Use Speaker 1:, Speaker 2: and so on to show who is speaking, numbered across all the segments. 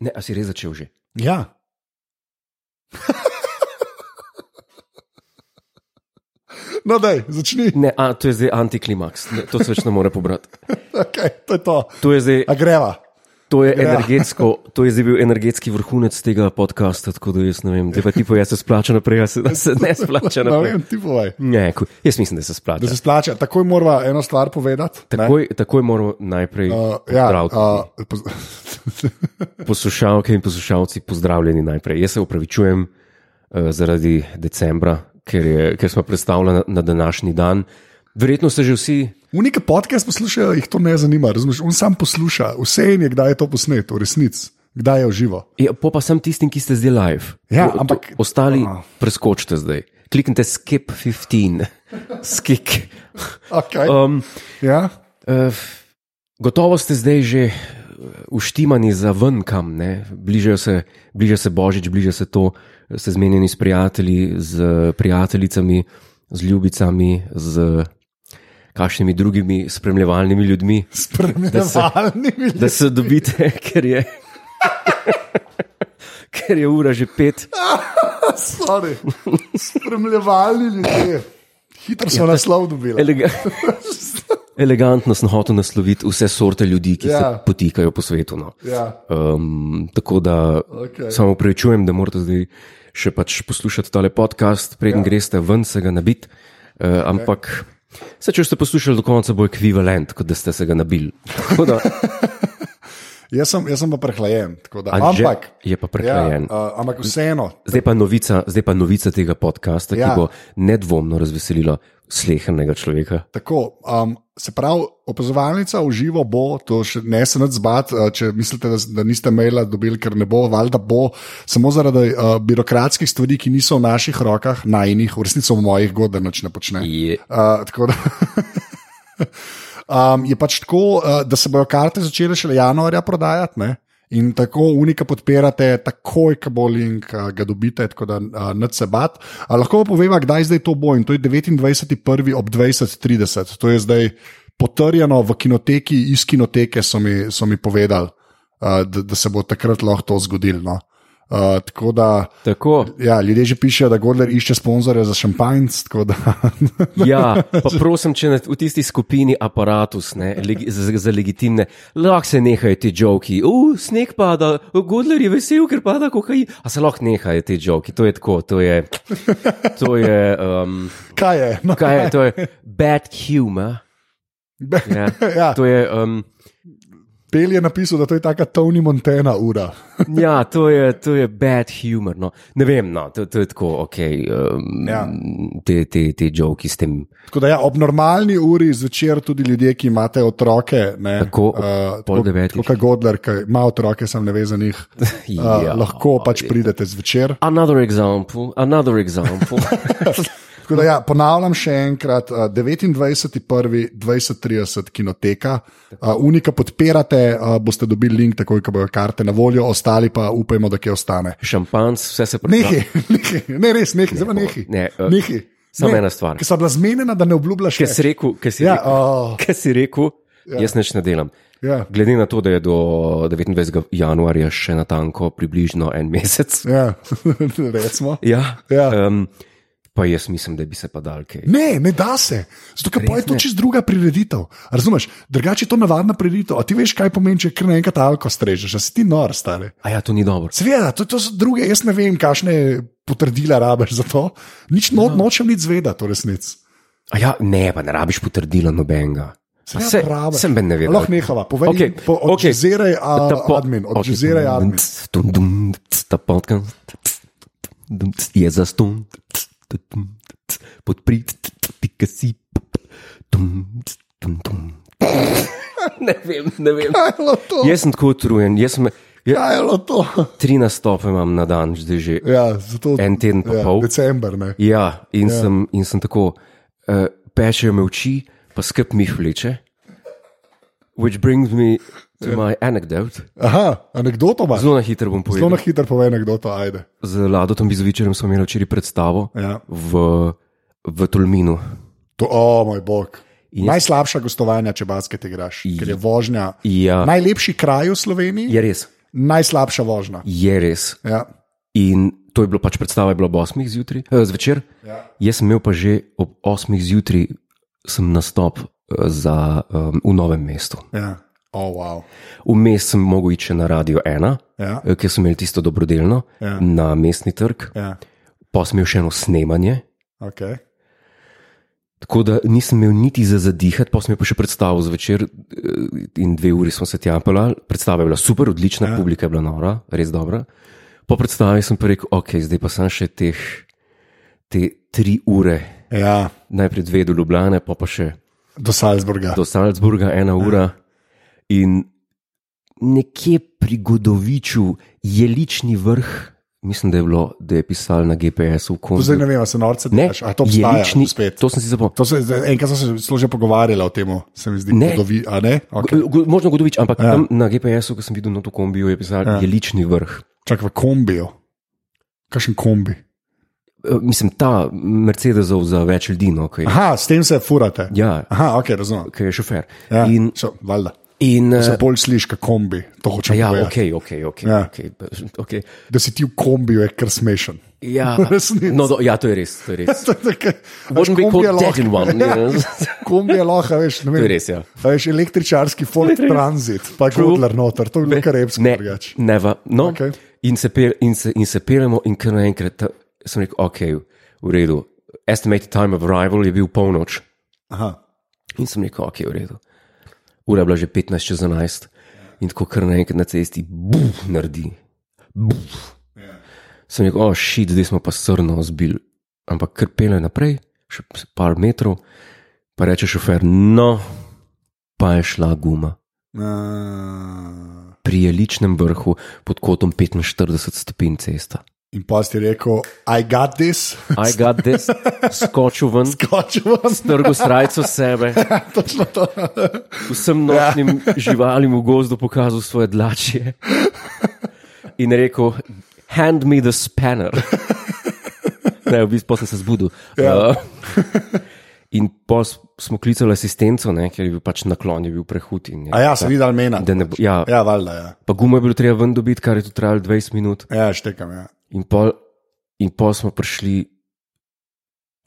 Speaker 1: Ne, a si res začel že.
Speaker 2: Ja. No, daj, začni.
Speaker 1: Ne, a, to je zdaj antiklimaks, Ne, to se več ne more pobrati.
Speaker 2: Okay, to je to.
Speaker 1: To je zdaj,
Speaker 2: A greva.
Speaker 1: to je
Speaker 2: Ja.
Speaker 1: energetsko, to je zdaj bil energetski vrhunec tega podcasta, tako da jaz ne vem, da pa ti pojjo, se splača naprej, a se, da se ne splača
Speaker 2: Ne
Speaker 1: naprej.
Speaker 2: No, vem, ti povaj.
Speaker 1: Ne, ku- jaz mislim, da se
Speaker 2: Da
Speaker 1: splača.
Speaker 2: se splača. Takoj moramo eno stvar povedati. ne?
Speaker 1: Takoj, takoj moramo najprej uh,
Speaker 2: ja,
Speaker 1: pozdraviti. Uh,
Speaker 2: uh, poz-
Speaker 1: Poslušalke in poslušalci, pozdravljeni najprej. Jaz se upravičujem uh, zaradi decembra, ker, je, ker smo predstavljali na, na današnji dan. Verjetno ste že vsi
Speaker 2: v neki podcast poslušajo, jih to ne zanima. Razumeš? On sam posluša, vse jim je, kdaj je to posnet, v resnici, kdaj je v živo.
Speaker 1: Ja, po pa sem tistim, ki ste zdaj live.
Speaker 2: Ja,
Speaker 1: To- to-
Speaker 2: ampak-
Speaker 1: Ostali
Speaker 2: Ah.
Speaker 1: preskočite zdaj. Kliknite skip 15, skik.
Speaker 2: Okay. Uh,
Speaker 1: Um,
Speaker 2: ja?
Speaker 1: uh, gotovo ste zdaj že eh, uštimani za ven kam, ne? Bližajo se, bliža se božič, bliža se to, ste zmenjeni s prijatelji, z prijateljicami, z ljubicami, z kakšnimi drugimi spremljevalnimi ljudmi,
Speaker 2: Spremljevalni ljudje.
Speaker 1: da se dobite, ker je. Ker je ura že pet,
Speaker 2: Sorry. Spremljevalni ljudje. Hitro smo naslov dobili.
Speaker 1: Elega Elegantno sem hotel nasloviti vse sorte ljudi, ki ja.
Speaker 2: Ja.
Speaker 1: se potikajo po svetu. No.
Speaker 2: Ja,
Speaker 1: Um, tako da okay.
Speaker 2: Okej.
Speaker 1: samo prečujem, da morate zdaj še pač poslušati tale podcast, preden ja. greste ven, se ga nabit. Uh, ampak se, če ste poslušali do konca, bo ekvivalent, kot da ste se ga nabili. Tako da,
Speaker 2: jaz, sem, jaz sem pa prehlajen. tako da-
Speaker 1: Anže
Speaker 2: Ampak,
Speaker 1: je pa prehlajen.
Speaker 2: Ja, uh, ampak vseeno,
Speaker 1: zdaj, pa novica, zdaj pa novica tega podcasta, ja.
Speaker 2: Ja.
Speaker 1: ki bo nedvomno razveselila slehenega človeka.
Speaker 2: Tako, um, se pravi, opazovalnica v živo bo, to še ne se nad zbat, eh, če mislite, da, da niste maila dobili, ker ne bo, valjda bo, samo zaradi uh, birokratskih stvari, ki niso v naših rokah, najnih, v resnici so v mojih, god, da noč ne počne.
Speaker 1: Je.
Speaker 2: Uh, tako da. Um, je pač tako, uh, da se bodo karte začele šele januarja prodajati. Ne? In tako unika podpirate, takoj, ko bo link, uh, ga dobite, tako da uh, ne se bat. A lahko pa poveva, kdaj zdaj to bo in to je 29.1. ob 20.30. To je zdaj potrjeno v kinoteki, iz kinoteke so mi, so mi povedali, uh, da, da se bo takrat lahko to zgodilo. No? Uh, tako da.
Speaker 1: Tako.
Speaker 2: Ja, ljudje že pišejo, da Gordler išče sponzorje za šampanjc, tako da
Speaker 1: Ja, pa prosim, če ne, v tisti skupini aparatus ne, legi, za, za legitimne, lahko se nehajo ti žoki, uf, sneg pada, Godler je vesel, ker pada kokain. A se lahko nehajo ti žoki, to je tako, to je. To je, um,
Speaker 2: kaj je? No,
Speaker 1: kaj je, to je bad humor. Ja,
Speaker 2: Ja.
Speaker 1: to je, um,
Speaker 2: Pel je napisal, da to je taka Tony Montana ura.
Speaker 1: ja, to je, to je bad humor. No. Ne vem, no, to, to je tako, ok, um, ja.
Speaker 2: Ja.
Speaker 1: te, te, te žoki s tem.
Speaker 2: Tako da ja, ob normalni uri zvečer tudi ljudje, ki imate otroke, ne, eh,
Speaker 1: Tako, ob pol devetih.
Speaker 2: Kot Godler, ki ima otroke, sem ne vezan jih, uh,
Speaker 1: Ja,
Speaker 2: lahko pač pridete zvečer.
Speaker 1: Another example, another example.
Speaker 2: Tako da, ja, ponavljam še enkrat, eh, 29.1.2030 kinoteka, Eh, unika podpirate, eh, boste dobili link, takoj, ko bojo karte na voljo, ostali pa upajmo, da kje ostane.
Speaker 1: Šampanc, vse se
Speaker 2: Nehi, nehi, ne res, nehi, zdaj pa nehi.
Speaker 1: No. Ne, eh,
Speaker 2: nehi.
Speaker 1: samo
Speaker 2: Ne,
Speaker 1: ena stvar.
Speaker 2: Ker sta bila zmenjena, da ne obljubljaš
Speaker 1: Kaj si rekel, kaj si
Speaker 2: Ja,
Speaker 1: rekel,
Speaker 2: oh.
Speaker 1: kaj si rekel ja. jaz neč ne delam.
Speaker 2: Ja.
Speaker 1: Glede na to, da je do 29. januarja še natanko približno en mesec,
Speaker 2: Ja, recimo.
Speaker 1: ja,
Speaker 2: Ja.
Speaker 1: Um, pa jaz mislim, da bi se pa dal kaj.
Speaker 2: Ne, ne da se. Zato, ker pa je to čez druga prireditev. A Razumeš? Drugače je to navadna prireditev. A ti veš, kaj pomeni, če kar naenkrat alko strežeš, da si ti nor stari.
Speaker 1: A ja, to ni dobro.
Speaker 2: Seveda, to, to so druge, jaz ne vem, kakšne potrdila rabiš za to. Nič no, nočem nič zvedeti, v resnici.
Speaker 1: A ja, ne, pa ne rabiš potrdila nobenega. A
Speaker 2: Seveda
Speaker 1: se-
Speaker 2: rabiš.
Speaker 1: Sem ben ne vedel.
Speaker 2: ja, Lahko nehava, povej,
Speaker 1: Okej,
Speaker 2: okay, po,
Speaker 1: okej.
Speaker 2: okay. odžeziraj
Speaker 1: Ta
Speaker 2: okay.
Speaker 1: po-
Speaker 2: admin,
Speaker 1: okej,
Speaker 2: odžeziraj okay. admin.
Speaker 1: dum, dum, tc, Ta podcast tc, dum, tc, je zaston, podprite, pika si. dum, tc, dum, dum. Ne vem, ne vem.
Speaker 2: Kaj je bilo to?
Speaker 1: Jaz sem tako utrujen, jaz sem ja,
Speaker 2: Kaj je bilo to?
Speaker 1: tri nastope imam na dan, zdaj že
Speaker 2: Ja, zato,
Speaker 1: en teden pa
Speaker 2: ja,
Speaker 1: pol.
Speaker 2: December, ne.
Speaker 1: Ja, in, ja. Sem, in sem tako, uh, pečejo me oči, pa skrb mi jih vleče. Which brings me to
Speaker 2: Ja.
Speaker 1: my anecdote.
Speaker 2: Aha, anekdoto imaš.
Speaker 1: Zelo na hitro bom
Speaker 2: Zelo
Speaker 1: povedal.
Speaker 2: na hitro povej anekdoto, ajde.
Speaker 1: Z Ladotom Bizovičem smo imeli včeraj predstavo
Speaker 2: Ja.
Speaker 1: v, v Tolminu.
Speaker 2: To, o moj bog. Najslabša gostovanja, če basket igraš, ker je vožnja.
Speaker 1: Ja.
Speaker 2: Najlepši kraj v Sloveniji,
Speaker 1: Je res.
Speaker 2: najslabša vožnja.
Speaker 1: je res.
Speaker 2: Ja.
Speaker 1: In to je bilo pač predstava, je bila ob 8 zjutraj, eh, zvečer.
Speaker 2: Ja.
Speaker 1: Jaz sem imel pa že ob 8 zjutraj sem nastop eh, za, um, v novem mestu.
Speaker 2: Ja. Oh, wow.
Speaker 1: Vmes sem mogel iti še na Radio 1,
Speaker 2: ja.
Speaker 1: eh, kjer sem imel tisto dobrodelno
Speaker 2: Ja.
Speaker 1: na mestni trg,
Speaker 2: Ja.
Speaker 1: pa sem imel še eno snemanje.
Speaker 2: Okay.
Speaker 1: Tako da nisem imel niti za zadihati, pa sem imel pa še predstavo zvečer eh, in dve uri smo se tam pelali. Predstava je bila super, odlična, ja. publika je bila nora, res dobra. Po predstavi sem pa rekel, ok, zdaj pa sem še teh te tri ure,
Speaker 2: ja.
Speaker 1: najprej dve do Ljubljana, pa pa še
Speaker 2: Do Salzburga.
Speaker 1: do Salzburga, ena
Speaker 2: Ja.
Speaker 1: ura. In nekje pri Godoviču je lični vrh, mislim, da je, bilo, da je pisal na GPS-u,
Speaker 2: To
Speaker 1: kot
Speaker 2: Zdaj ne vem, a se norce
Speaker 1: Ne,
Speaker 2: delaš, a to
Speaker 1: je
Speaker 2: obstaja
Speaker 1: lični,
Speaker 2: spet.
Speaker 1: to sem si zapomnil.
Speaker 2: To se, zdaj- enkrat so se celo že pogovarjali o tem, se mi zdi,
Speaker 1: Ne.
Speaker 2: da vi, a ne? Okay.
Speaker 1: Go- go- Možno Godovič, ampak ja. tam na GPS-u, ko sem videl na to kombijo, je pisal ja. jelični vrh.
Speaker 2: Čak v kombiju. Kakšen kombi?
Speaker 1: E, Mislim, ta Mercedesov za več ljudi, no, ki,
Speaker 2: Aha, s tem se furate.
Speaker 1: ja,
Speaker 2: Aha, ok, razumem.
Speaker 1: ki je šofer.
Speaker 2: Ja, in,
Speaker 1: In,
Speaker 2: so, valjda.
Speaker 1: in,
Speaker 2: Se
Speaker 1: e,
Speaker 2: bolj slišiš, kot kombi. To hočem
Speaker 1: ja,
Speaker 2: povedati.
Speaker 1: ok, ok, ok.
Speaker 2: Ja.
Speaker 1: Ja, okay, okay.
Speaker 2: Da si ti v kombiju, je kar smešen.
Speaker 1: ja.
Speaker 2: Resnici.
Speaker 1: No, do, ja to je res. To je res.
Speaker 2: To je tako, veš,
Speaker 1: Wouldn't be
Speaker 2: kombi je
Speaker 1: called dead in
Speaker 2: lahko- Ja,
Speaker 1: one. yes.
Speaker 2: Kombi je lahko, a veš, ne
Speaker 1: To
Speaker 2: vem.
Speaker 1: je res, ja.
Speaker 2: A veš, električarski Ford Transit, pa
Speaker 1: True.
Speaker 2: Kudler noter, to je bilo kar repsko
Speaker 1: Ne,
Speaker 2: drugače.
Speaker 1: neva. No,
Speaker 2: Okej.
Speaker 1: okay. in, se pel, in, se, in se pelemo, in kar naenkrat ta- sem rekel, ok, v redu. Estimated time of arrival je bil polnoč.
Speaker 2: Aha.
Speaker 1: In sem rekel, ok, v redu. Ura je bila že 15 čez 11 in tako kar naenkrat na cesti, buf, naredi. Buf. Sem rekel, o, oh, šit, zdaj smo pa srno zbil. Ampak kar pele naprej, še par metrov, pa reče šofer, no, pa je šla guma.
Speaker 2: Uh,
Speaker 1: pri jeličnem vrhu pod kotom 45 stopinj cesta.
Speaker 2: in pa si rekel, I got this,
Speaker 1: I got this, skočil ven,
Speaker 2: skočil vam.
Speaker 1: strgal srajco s sebe,
Speaker 2: Točno to.
Speaker 1: vsem nočnim živalim v gozdu pokazal svoje dlačje in rekel: Hand me the spanner. Ne, v bistvu pol sem se zbudil. Ja. Uh, in pa smo klicali asistenco, ne, ker je bil pač naklon, je bil prehud. in je-
Speaker 2: A ja, se vidi, da mena.
Speaker 1: Da ne bo, ja,
Speaker 2: Ja, valjda, ja.
Speaker 1: pa gumo je bilo treba ven dobiti, kar je tu trajalo 20 minut.
Speaker 2: Ja, štekam, ja.
Speaker 1: In pol, in pol smo prišli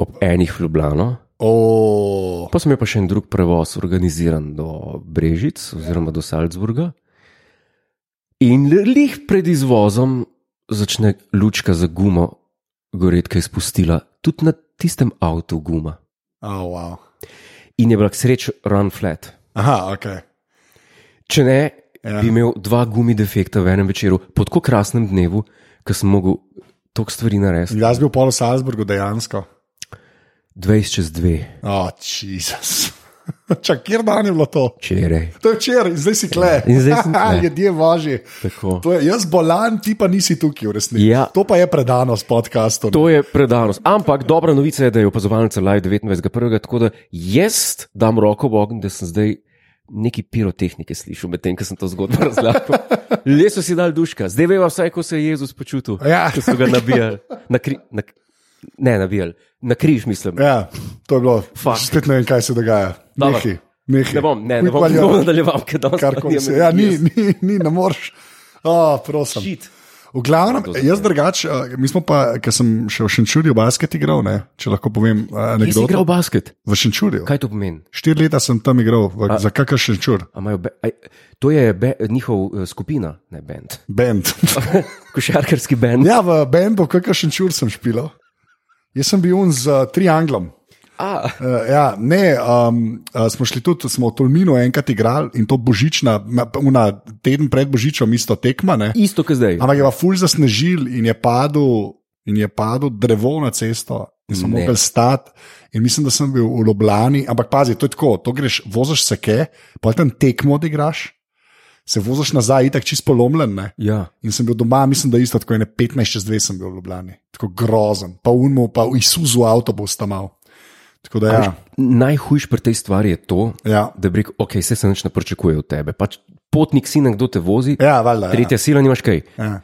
Speaker 1: ob enih v Ljubljano,
Speaker 2: O,
Speaker 1: pa smo imeli pa še en drug prevoz, organiziran do Brežic oziroma do Salzburga. In lih pred izvozom začne lučka za gumo, goretka je spustila, tudi na tistem avtu guma.
Speaker 2: oh, wow.
Speaker 1: In je bila k sreči run flat.
Speaker 2: Aha, ok.
Speaker 1: Če ne,
Speaker 2: Ja.
Speaker 1: ja. bi imel dva gumi defekta v enem večeru, po tako krasnem dnevu, ki sem mogel toliko stvari narediti.
Speaker 2: In jaz bil pol v Salzburgu dejansko.
Speaker 1: 20 čez 2,
Speaker 2: O, oh, Jezus. Čak, kjer dan je bilo to?
Speaker 1: včeraj.
Speaker 2: To je včeraj, zdaj si kle.
Speaker 1: In zdaj sem tule.
Speaker 2: Ljudje važi.
Speaker 1: Tako.
Speaker 2: To je, jaz bolan, ti pa nisi tukaj v resnici.
Speaker 1: Ja.
Speaker 2: To pa je predanost podcastu.
Speaker 1: To je predanost. Ampak dobra novica je, da je opazovalnica live 29.1. Tako da jaz dam roko v ogenj, da sem zdaj neki pirotehnike slišal, medtem ko sem to zgodbo razlagal. Ljudje so si dal duška, zdaj veva vsaj, ko se je Jezus počutil.
Speaker 2: Ja.
Speaker 1: Ko so ga nabijali. Na kri, na, ne, nabijali. Na križ, mislim.
Speaker 2: Ja, to je bilo.
Speaker 1: Fuck.
Speaker 2: Spet ne vem, kaj se dogaja.
Speaker 1: Dobro.
Speaker 2: Nehi, nehi.
Speaker 1: Ne bom, ne, ne
Speaker 2: Kuj
Speaker 1: bom,
Speaker 2: pa
Speaker 1: ne
Speaker 2: jo,
Speaker 1: bom nadaljeval, ker danes
Speaker 2: Karkoli
Speaker 1: imam
Speaker 2: se. Ja, ni,
Speaker 1: jaz
Speaker 2: ni, ni, ne moreš. Oh, prosim.
Speaker 1: Shit.
Speaker 2: V glavnem, jaz drugače, eh, mi smo pa, ker sem še v Šenčurju basket igral, ne? če lahko povem eh,
Speaker 1: Ti si igral
Speaker 2: anekdoto.
Speaker 1: basket.
Speaker 2: V Šenčurju.
Speaker 1: Kaj to pomeni?
Speaker 2: Štiri leta sem tam igral, v, za kakšen Šenčur,
Speaker 1: A imajo Be, a, to je be, njihov eh, skupina, ne bend.
Speaker 2: bend.
Speaker 1: Košarkarski bend.
Speaker 2: ja, v bendu, kakšen Šenčur sem špilal. Jaz sem bil un z uh, trianglom.
Speaker 1: A,
Speaker 2: Uh, ja, ne, um, uh, smo šli tudi, smo v Tolminu enkrat igrali in to božična, ma- una, teden pred božičem, isto tekma. Ne?
Speaker 1: isto, kot zdaj.
Speaker 2: Ampak je pa ful zasnežil in je padel, in je padel drevo na cesto. In smo
Speaker 1: Ne.
Speaker 2: mogli stati, in mislim, da sem bil v Ljubljani. Ampak pazi, to je tako, to greš, voziš se kje, pa tam tekmo odigraš, se voziš nazaj, itak čist polomljen. Ne?
Speaker 1: Ja.
Speaker 2: In sem bil doma, mislim, da isto tako ene 15 čez 2 sem bil v Ljubljani. Tako grozen, pa unmo, pa v Isuzu avtobus tam mal. Tako da ja.
Speaker 1: Najhujš pri tej stvari je to,
Speaker 2: Ja,
Speaker 1: da bi rekel, ok, vse se nič ne pričakuje od tebe. Pač potnik si nekdo te vozi, ja,
Speaker 2: ja valjda.
Speaker 1: tretja ja. sila, nimaš kaj.
Speaker 2: Ja. Ja.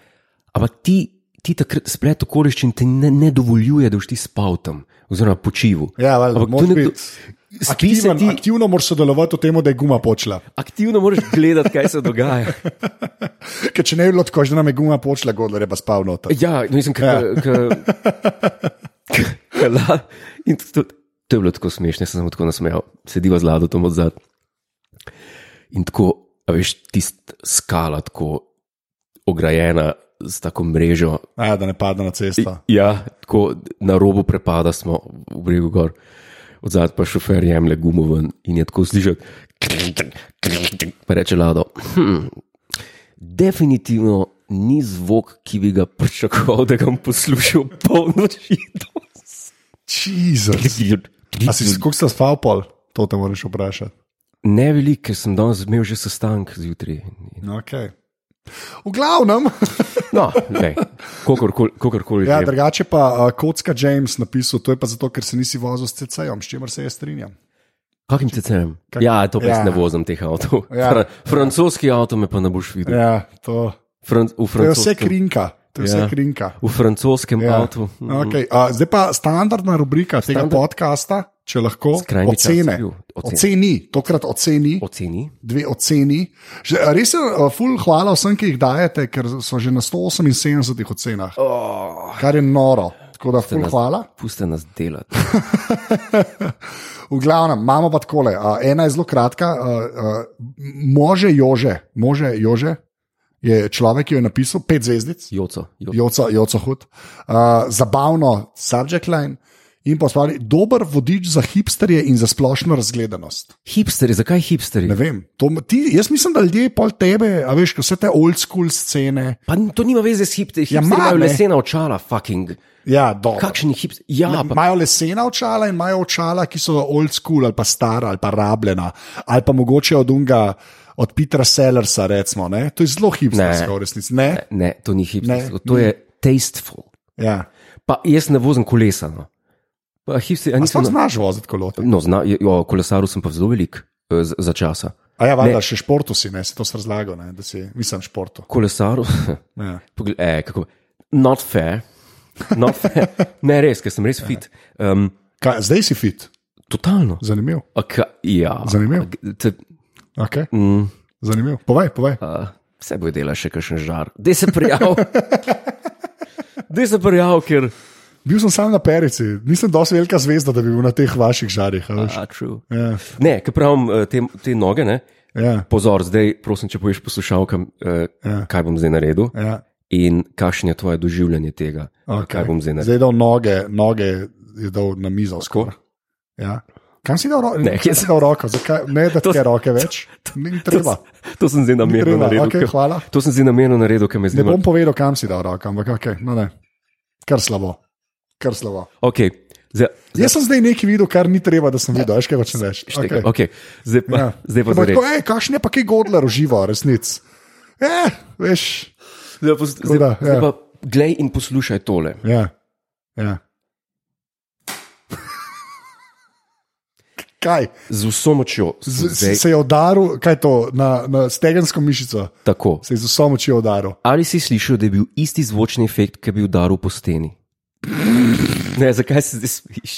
Speaker 1: Ampak ti, ti takrat splet okoliščin ti ne, ne dovoljuje, da boš ti spal tam, oziroma počival.
Speaker 2: Ja, valjda,
Speaker 1: Ampak
Speaker 2: moraš
Speaker 1: to nekdo-
Speaker 2: biti
Speaker 1: Spi se
Speaker 2: Aktiven,
Speaker 1: ti,
Speaker 2: aktivno moraš sodelovati v tem, da je guma počela.
Speaker 1: aktivno moraš gledati, kaj se dogaja.
Speaker 2: ker če ne bi bilo tako, že nam je guma počela, gondor je pa spal noter.
Speaker 1: Ja, no, mislim, ka,
Speaker 2: Ja.
Speaker 1: ka, ka, ka, la, in to, to je bilo tako smešno, jaz sem se tako nasmejal, sediva z lado tam odzad. In tako, a veš, tista skala, tako ograjena z tako mrežo.
Speaker 2: A, da ne pade na cesto.
Speaker 1: Ja, tako na robu prepada smo, v bregu gor. Odzad pa šofer jemlje gumo ven in je tako slišati, pa reče Lado. Hm, definitivno ni zvok, ki bi ga pričakoval, da ga bom poslušal polnoči.
Speaker 2: Jezus. A si kako si spal pol? To te moraš vprašati.
Speaker 1: Ne veliko, ker sem danes imel že sestanek zjutraj.
Speaker 2: Okay. V glavnem,
Speaker 1: No, ne, kakorkoli, kakorkoli
Speaker 2: ja,
Speaker 1: že.
Speaker 2: drugače pa uh, kocka James napisal, to je pa zato, ker se nisi vozil s CC-jem, s čimer se jaz strinjam.
Speaker 1: Kakim cecem? Ja, to pa jaz
Speaker 2: Ja.
Speaker 1: ne vozim teh avtov.
Speaker 2: Ja.
Speaker 1: Fra, francoski avto me pa ne boš videl.
Speaker 2: Ja, to,
Speaker 1: Fran, v
Speaker 2: to je vse
Speaker 1: francoskem,
Speaker 2: krinka. To je ja.
Speaker 1: Ja.
Speaker 2: vse krinka.
Speaker 1: v francoskem ja.
Speaker 2: Ja.
Speaker 1: avtu.
Speaker 2: Okay. Uh, zdaj pa standardna rubrika tega
Speaker 1: Standard-
Speaker 2: podcasta, če lahko
Speaker 1: Skrajni čas je
Speaker 2: ocene.
Speaker 1: bil. Ocene.
Speaker 2: Oceni, tokrat oceni.
Speaker 1: Oceni.
Speaker 2: dve oceni. Že, eh, res je, eh, ful, hvala vsem, ki jih dajete, ker so že na 178 ocenah,
Speaker 1: Oh,
Speaker 2: kar je noro. Tako da, ful, hvala.
Speaker 1: Puste nas delati.
Speaker 2: V glavnem, imamo pa takole. eh, Ena je zelo kratka, eh, eh, može Jože, može Jože. Je človek, ki jo je napisal, pet zvezdic,
Speaker 1: Joco. Jo.
Speaker 2: Joco, Joco Hud, uh, zabavno, subject line in pa stvari, dober vodič za hipsterje in za splošno razgledanost.
Speaker 1: Hipsteri, zakaj hipsteri?
Speaker 2: Ne vem, to, ti, jaz mislim, da ljudje pol tebe, a veš, ko vse te old school scene.
Speaker 1: Pa n- to nima veze s hipsteri.
Speaker 2: Ja,
Speaker 1: Hipsteri
Speaker 2: ima,
Speaker 1: imajo
Speaker 2: ne.
Speaker 1: lesena očala, fucking.
Speaker 2: Ja, dobro.
Speaker 1: Kakšni hipsteri? Ja, pa
Speaker 2: Imajo lesena očala in imajo očala, ki so old school ali pa stara ali pa rabljena ali pa mogoče od unga, od Petra Sellersa, recimo. Ne? To je zelo hipstersko
Speaker 1: Ne.
Speaker 2: v resnici. Ne?
Speaker 1: ne, to ni hipstersko.
Speaker 2: Ne,
Speaker 1: To je tasteful.
Speaker 2: Ja.
Speaker 1: Pa jaz ne vozim kolesa. No. Pa hipsteri, a
Speaker 2: A sploh
Speaker 1: nisem.
Speaker 2: znaš voziti kolote.
Speaker 1: No, zna, jo, kolesaril sem pa zelo velik eh, z- za časa.
Speaker 2: A ja, valjda
Speaker 1: Ne.
Speaker 2: še športu si, ne, se to sem razlagal, ne, da si, nisem športu.
Speaker 1: Kolesaril.
Speaker 2: Ja.
Speaker 1: Poglej, eh, kako, not fair. Not fair. Ne, res, ker sem res fit. Um,
Speaker 2: Kaj, zdaj si fit,
Speaker 1: totalno.
Speaker 2: zanimiv.
Speaker 1: A Ka, ja.
Speaker 2: Zanimivo.
Speaker 1: A Te,
Speaker 2: Okay.
Speaker 1: mm,
Speaker 2: Zanimiv. Povej, povej.
Speaker 1: uh, vse bo delal še kakšen žar. Dej se prijav. Dej se prijav, ker.
Speaker 2: Bil sem sam na perici, nisem dosti velika zvezda, da bi bil na teh vaših žarih. a veš.
Speaker 1: A, true.
Speaker 2: Ja,
Speaker 1: Ne, ker pravim eh, te, te noge, ne.
Speaker 2: ja,
Speaker 1: Pozor, zdaj, prosim, če poješ poslušalkam, eh,
Speaker 2: Ja.
Speaker 1: kaj bom zdaj naredil
Speaker 2: ja.
Speaker 1: in kakšno je tvoje doživljanje tega,
Speaker 2: Okay.
Speaker 1: kaj bom zdaj naredil.
Speaker 2: Zdaj je dal noge, noge je dal na mizo. skoraj. Ja. Kam si dal roko?
Speaker 1: Ne,
Speaker 2: Kje
Speaker 1: jaz-
Speaker 2: si dal roko? Zakaj? Ne, da ti je roke več. Ni treba.
Speaker 1: To sem zdaj
Speaker 2: Ni
Speaker 1: namerno
Speaker 2: treba.
Speaker 1: naredil.
Speaker 2: Okay,
Speaker 1: ker-
Speaker 2: hvala.
Speaker 1: To sem zdaj namerno naredil, ker me
Speaker 2: Ne
Speaker 1: zdaj.
Speaker 2: bom povedal, kam si dal roko, ampak okay, no ne. Kar slabo. Kar slabo.
Speaker 1: Okay. Zdaj,
Speaker 2: Jaz sem zdaj nekaj videl, kar ni treba, da sem videl. Veš, kaj hočem reči?
Speaker 1: Šteka,
Speaker 2: Ja,
Speaker 1: okay.
Speaker 2: Okej.
Speaker 1: Zdaj pa, ja.
Speaker 2: Ja.
Speaker 1: zdaj pa
Speaker 2: Ampak
Speaker 1: zares.
Speaker 2: tako, "Ej, Kakšen je pa kaj Godler uživa, resnic? Eh, veš.
Speaker 1: Zdaj pa, zdaj,
Speaker 2: da,
Speaker 1: zdaj
Speaker 2: ja.
Speaker 1: pa glej in poslušaj tole.
Speaker 2: Ja. ja. Kaj?
Speaker 1: Z vso močjo.
Speaker 2: Z,
Speaker 1: sem
Speaker 2: zdaj...
Speaker 1: Zdaj,
Speaker 2: Se je udaril, kaj je to, na, na stegensko mišico,
Speaker 1: tako.
Speaker 2: se je z vso močjo udaril.
Speaker 1: Ali si slišal, da je bil isti zvočni efekt, ki je bil udaril po steni? Ne, zakaj se zdaj smiš?